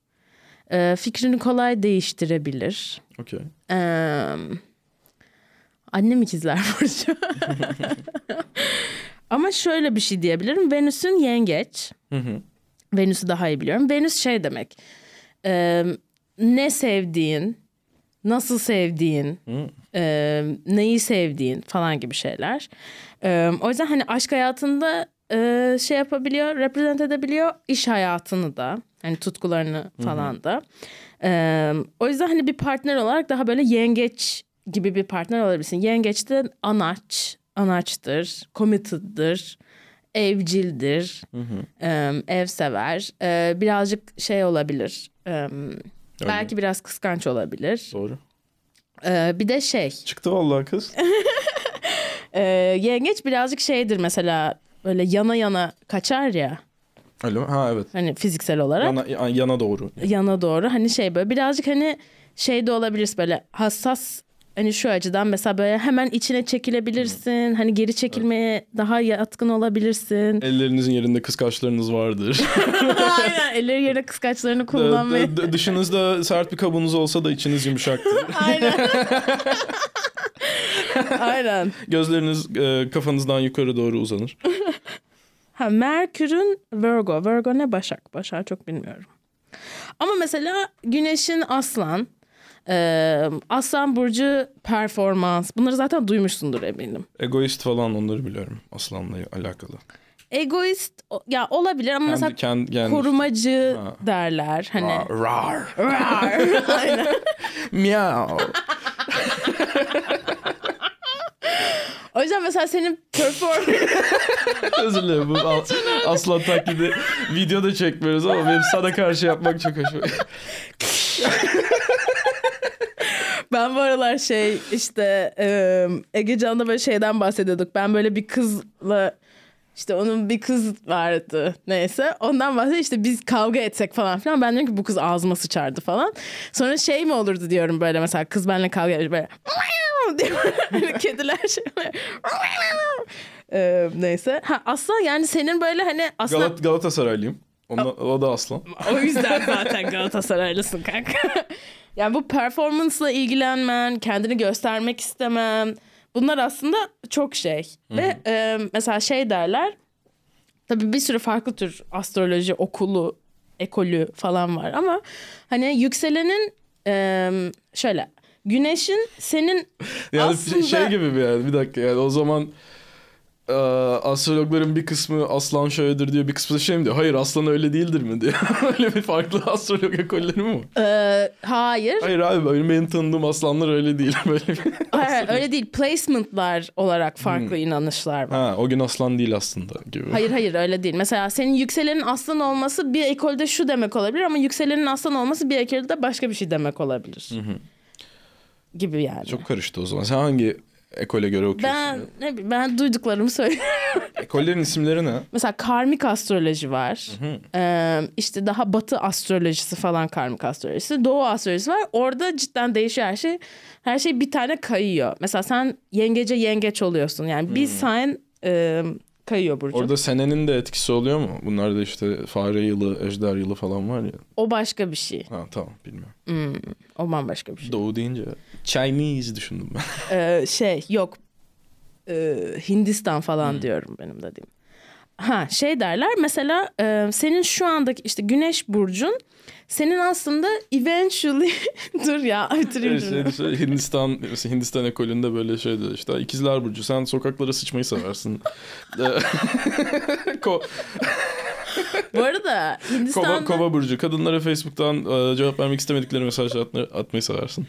[SPEAKER 1] Ee, fikrini kolay değiştirebilir.
[SPEAKER 2] Okey.
[SPEAKER 1] Ee, annem ikizler burcu. Ama şöyle bir şey diyebilirim. Venüs'ün yengeç.
[SPEAKER 2] Hı hı.
[SPEAKER 1] Venüs'ü daha iyi biliyorum. Venüs şey demek. e, ne sevdiğin, nasıl sevdiğin,
[SPEAKER 2] Hı.
[SPEAKER 1] e, neyi sevdiğin falan gibi şeyler. E, o yüzden hani aşk hayatında e, şey yapabiliyor, reprezent edebiliyor iş hayatını da. Hani tutkularını falan da. E, o yüzden hani bir partner olarak daha böyle yengeç gibi bir partner olabilirsin. Yengeç de anaç, anaçtır, committed'dır, evcildir, e, ev sever. E, birazcık şey olabilir, e, belki biraz kıskanç olabilir.
[SPEAKER 2] Doğru.
[SPEAKER 1] Ee, bir de şey
[SPEAKER 2] Çıktı vallahi kız.
[SPEAKER 1] e, yengeç birazcık şeydir mesela böyle yana yana kaçar ya
[SPEAKER 2] Öyle mi? Ha evet.
[SPEAKER 1] hani fiziksel olarak yana,
[SPEAKER 2] Yana, ya- yana doğru.
[SPEAKER 1] doğru hani şey böyle birazcık hani şey de olabilirsin böyle hassas hani şu açıdan mesela böyle hemen içine çekilebilirsin hani geri çekilmeye daha yatkın olabilirsin.
[SPEAKER 2] Ellerinizin yerinde kıskaçlarınız vardır.
[SPEAKER 1] Aynen elleri yere kıskaçlarını kullanmayı.
[SPEAKER 2] D- d- Dışınızda sert bir kabuğunuz olsa da içiniz yumuşaktır.
[SPEAKER 1] Aynen. Aynen.
[SPEAKER 2] Gözleriniz e, kafanızdan yukarı doğru uzanır.
[SPEAKER 1] Ha Merkür'ün Virgo. Virgo ne Başak? Başak çok bilmiyorum. Ama mesela Güneş'in Aslan. eee, Aslan Burcu performans. Bunları zaten duymuşsundur eminim.
[SPEAKER 2] Egoist falan onları biliyorum aslanla alakalı.
[SPEAKER 1] Egoist o- ya olabilir ama mesela
[SPEAKER 2] Kendi, kendi, kendi
[SPEAKER 1] korumacı
[SPEAKER 2] Ha.
[SPEAKER 1] derler. Hani
[SPEAKER 2] Rar, rar,
[SPEAKER 1] Rar. Aynen.
[SPEAKER 2] miau.
[SPEAKER 1] O yüzden mesela senin performans
[SPEAKER 2] Özür dilerim. Bu al- aslan taklidi video da çekmiyoruz ama benim sana karşı yapmak çok hoşuma
[SPEAKER 1] ben bu aralar şey işte eee Egecan'da böyle şeyden bahsediyorduk. Ben böyle bir kızla işte onun bir kız vardı neyse ondan bahsediyor işte biz kavga etsek falan filan ben diyorum ki bu kız ağzıma sıçardı falan. Sonra şey mi olurdu diyorum böyle mesela kız benimle kavga ediyor böyle "Miau" diye hani kediler şey Ee, neyse. Ha, aslan yani senin böyle hani aslan
[SPEAKER 2] Galat Galatasaraylıyım. Ondan, o da aslan.
[SPEAKER 1] o yüzden zaten Galatasaraylısın kanka. yani bu performansla ilgilenmen, kendini göstermek istemen bunlar aslında çok şey. Ve e, mesela şey derler. Tabii bir sürü farklı tür astroloji okulu, ekolü falan var ama hani yükselenin e, şöyle güneşin senin
[SPEAKER 2] Yani
[SPEAKER 1] Aslında-
[SPEAKER 2] şey- şey gibi bir yani bir dakika yani o zaman e, astrologların bir kısmı aslan şöyledir diyor bir kısmı da şey mi diyor hayır aslan öyle değildir mi diyor. öyle bir farklı astrolog ekolleri mi var?
[SPEAKER 1] e, hayır
[SPEAKER 2] Hayır abi öyle benim tanıdığım aslanlar öyle değil böyle bir.
[SPEAKER 1] Hayır, hayır, öyle değil. Placement'lar olarak farklı inanışlar var.
[SPEAKER 2] Ha o gün aslan değil aslında gibi.
[SPEAKER 1] Hayır hayır öyle değil. Mesela senin yükselenin aslan olması bir ekolde şu demek olabilir ama yükselenin aslan olması bir ekolde başka bir şey demek olabilir. Gibi yani.
[SPEAKER 2] Çok karıştı o zaman. Sen hangi ekole göre okuyorsun?
[SPEAKER 1] ben ne bileyim, ben duyduklarımı söylüyorum.
[SPEAKER 2] Ekollerin isimleri ne?
[SPEAKER 1] Mesela karmik astroloji var. Ee, işte daha batı astrolojisi falan karmik astrolojisi. Doğu astrolojisi var. Orada cidden değişiyor her şey. Her şey bir tane kayıyor. Mesela sen yengece yengeç oluyorsun. Yani bir sign e, kayıyor Burcu.
[SPEAKER 2] Orada senenin de etkisi oluyor mu? Bunlar da işte fare yılı, ejder yılı falan var ya.
[SPEAKER 1] O başka bir şey.
[SPEAKER 2] Ha tamam bilmiyorum.
[SPEAKER 1] O bambaşka bir şey.
[SPEAKER 2] Doğu deyince Chinese düşündüm ben.
[SPEAKER 1] Ee, şey yok. Ee, Hindistan
[SPEAKER 2] Hmm.
[SPEAKER 1] falan diyorum benim dediğim. Ha şey derler mesela e, senin şu andaki işte güneş burcun senin aslında eventually dur ya bitireyim
[SPEAKER 2] Evet,
[SPEAKER 1] cümleyi.
[SPEAKER 2] şey- şey, Hindistan mesela Hindistan ekolünde böyle şey diyor işte ikizler burcu sen sokaklara sıçmayı seversin. Ee, Ko-
[SPEAKER 1] Bu arada
[SPEAKER 2] kova,
[SPEAKER 1] Hindistan'da
[SPEAKER 2] kova burcu kadınlara Facebook'tan e, cevap vermek istemedikleri mesajlar atma- atmayı seversin.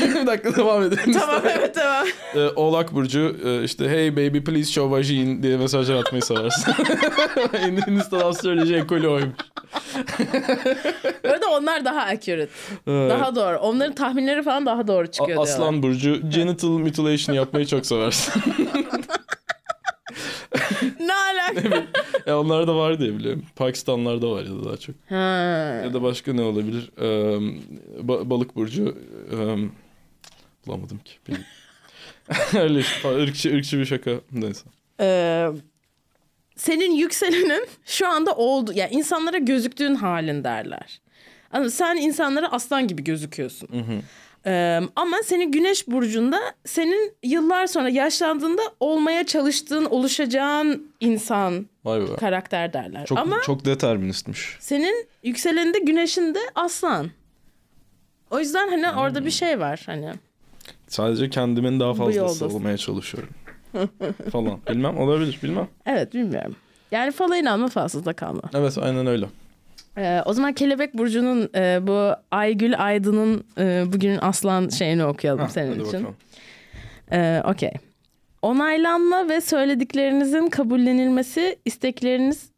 [SPEAKER 2] Bir dakika devam edelim.
[SPEAKER 1] tamam evet tamam.
[SPEAKER 2] Ee, Oğlak burcu e, işte hey baby please show vagin diye mesajlar atmayı seversin. Hindistan astroloji ekolü oymuş.
[SPEAKER 1] Bu arada onlar daha accurate.
[SPEAKER 2] Evet.
[SPEAKER 1] Daha doğru. Onların tahminleri falan daha doğru
[SPEAKER 2] A-
[SPEAKER 1] çıkıyor diyorlar.
[SPEAKER 2] Aslan burcu genital mutilation yapmayı çok seversin.
[SPEAKER 1] Ne alaka?
[SPEAKER 2] e, onlar da var diye biliyorum. Pakistanlarda var ya da daha çok.
[SPEAKER 1] ha.
[SPEAKER 2] Ya da başka ne olabilir? Ee, ba- balık burcu. ee, bulamadım ki. Benim. Öyle işte, ırkçı, ırkçı bir şaka. Neyse.
[SPEAKER 1] Ee, senin yükselenin şu anda oldu ya insanlara gözüktüğün halin derler. Ama sen insanlara aslan gibi gözüküyorsun. Ee, ama senin güneş burcunda senin yıllar sonra yaşlandığında olmaya çalıştığın, oluşacağın insan
[SPEAKER 2] Vay be.
[SPEAKER 1] karakter derler.
[SPEAKER 2] Çok,
[SPEAKER 1] ama
[SPEAKER 2] çok deterministmiş.
[SPEAKER 1] senin yükseleninde güneşinde aslan. O yüzden hani orada bir şey var hani.
[SPEAKER 2] Sadece kendimin daha fazlası
[SPEAKER 1] yoldasın.
[SPEAKER 2] olmaya çalışıyorum. falan. Bilmem olabilir bilmem.
[SPEAKER 1] Evet bilmiyorum. Yani fala inanma falsızda kalma.
[SPEAKER 2] Evet aynen öyle.
[SPEAKER 1] Ee, o zaman Kelebek Burcu'nun e, bu Aygül Aydın'ın e, bugünün aslan şeyini okuyalım
[SPEAKER 2] Hah,
[SPEAKER 1] senin
[SPEAKER 2] hadi
[SPEAKER 1] için.
[SPEAKER 2] bakalım.
[SPEAKER 1] Ee, Okey. Onaylanma ve söylediklerinizin kabullenilmesi, istekleriniz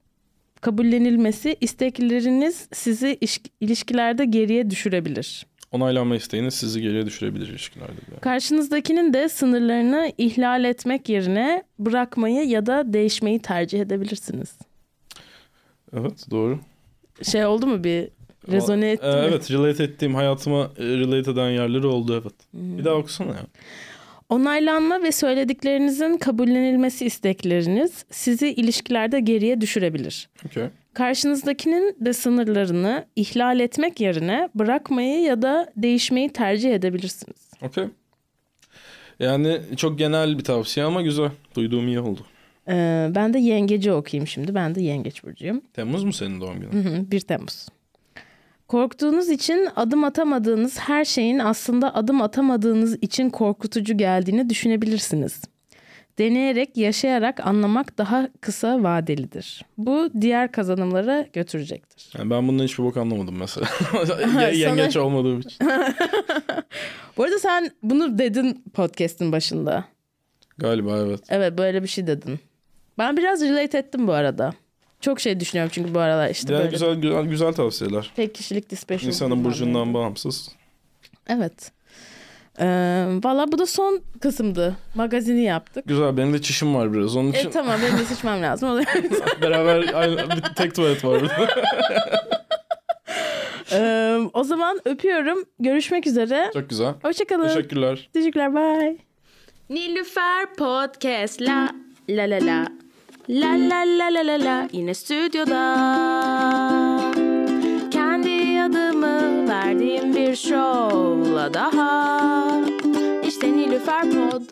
[SPEAKER 1] kabullenilmesi, istekleriniz sizi iş- ilişkilerde geriye düşürebilir.
[SPEAKER 2] Onaylanma isteğiniz sizi geriye düşürebilir ilişkilerde. diyor.
[SPEAKER 1] Karşınızdakinin de sınırlarını ihlal etmek yerine bırakmayı ya da değişmeyi tercih edebilirsiniz.
[SPEAKER 2] Evet doğru.
[SPEAKER 1] Şey oldu mu bir rezone etti
[SPEAKER 2] Ee,
[SPEAKER 1] mi?
[SPEAKER 2] Evet relate ettiğim hayatıma e, relate eden yerleri oldu evet.
[SPEAKER 1] Hmm.
[SPEAKER 2] Bir daha okusana ya.
[SPEAKER 1] Onaylanma ve söylediklerinizin kabullenilmesi istekleriniz sizi ilişkilerde geriye düşürebilir.
[SPEAKER 2] Okey.
[SPEAKER 1] Karşınızdakinin de sınırlarını ihlal etmek yerine bırakmayı ya da değişmeyi tercih edebilirsiniz.
[SPEAKER 2] Okey. Yani çok genel bir tavsiye ama güzel. Duyduğum iyi oldu.
[SPEAKER 1] Ee, ben de yengeci okuyayım şimdi. Ben de yengeç burcuyum.
[SPEAKER 2] Temmuz mu senin doğum günün?
[SPEAKER 1] Hı hı, 1 Temmuz. Korktuğunuz için adım atamadığınız her şeyin aslında adım atamadığınız için korkutucu geldiğini düşünebilirsiniz. Deneyerek, yaşayarak anlamak daha kısa vadelidir. Bu diğer kazanımlara götürecektir.
[SPEAKER 2] Yani ben bundan hiçbir bok anlamadım mesela. Ye- Yengeç olmadığım için.
[SPEAKER 1] Bu arada sen bunu dedin podcast'in başında.
[SPEAKER 2] Galiba evet.
[SPEAKER 1] Evet böyle bir şey dedin. Ben biraz relate ettim bu arada. Çok şey düşünüyorum çünkü bu aralar işte
[SPEAKER 2] Yani
[SPEAKER 1] böyle
[SPEAKER 2] güzel, güzel güzel tavsiyeler.
[SPEAKER 1] tek kişilik dispeşim.
[SPEAKER 2] İnsanın burcundan bağımsız.
[SPEAKER 1] Evet. Ee, Valla bu da son kısımdı. Magazini yaptık.
[SPEAKER 2] Güzel benim de çişim var biraz. Onun
[SPEAKER 1] E
[SPEAKER 2] için
[SPEAKER 1] tamam benim de sıçmam lazım. O da-
[SPEAKER 2] beraber aynı, bir tek tuvalet var burada.
[SPEAKER 1] Ee, o zaman öpüyorum. Görüşmek üzere.
[SPEAKER 2] Çok güzel.
[SPEAKER 1] Hoşçakalın. Teşekkürler.
[SPEAKER 2] Teşekkürler.
[SPEAKER 1] Teşekkürler. Bye.
[SPEAKER 3] Nilüfer Podcast la la la la la la la la la la yine stüdyoda kendi adımı verdiğim bir şovla daha işte Nilüfer Pod.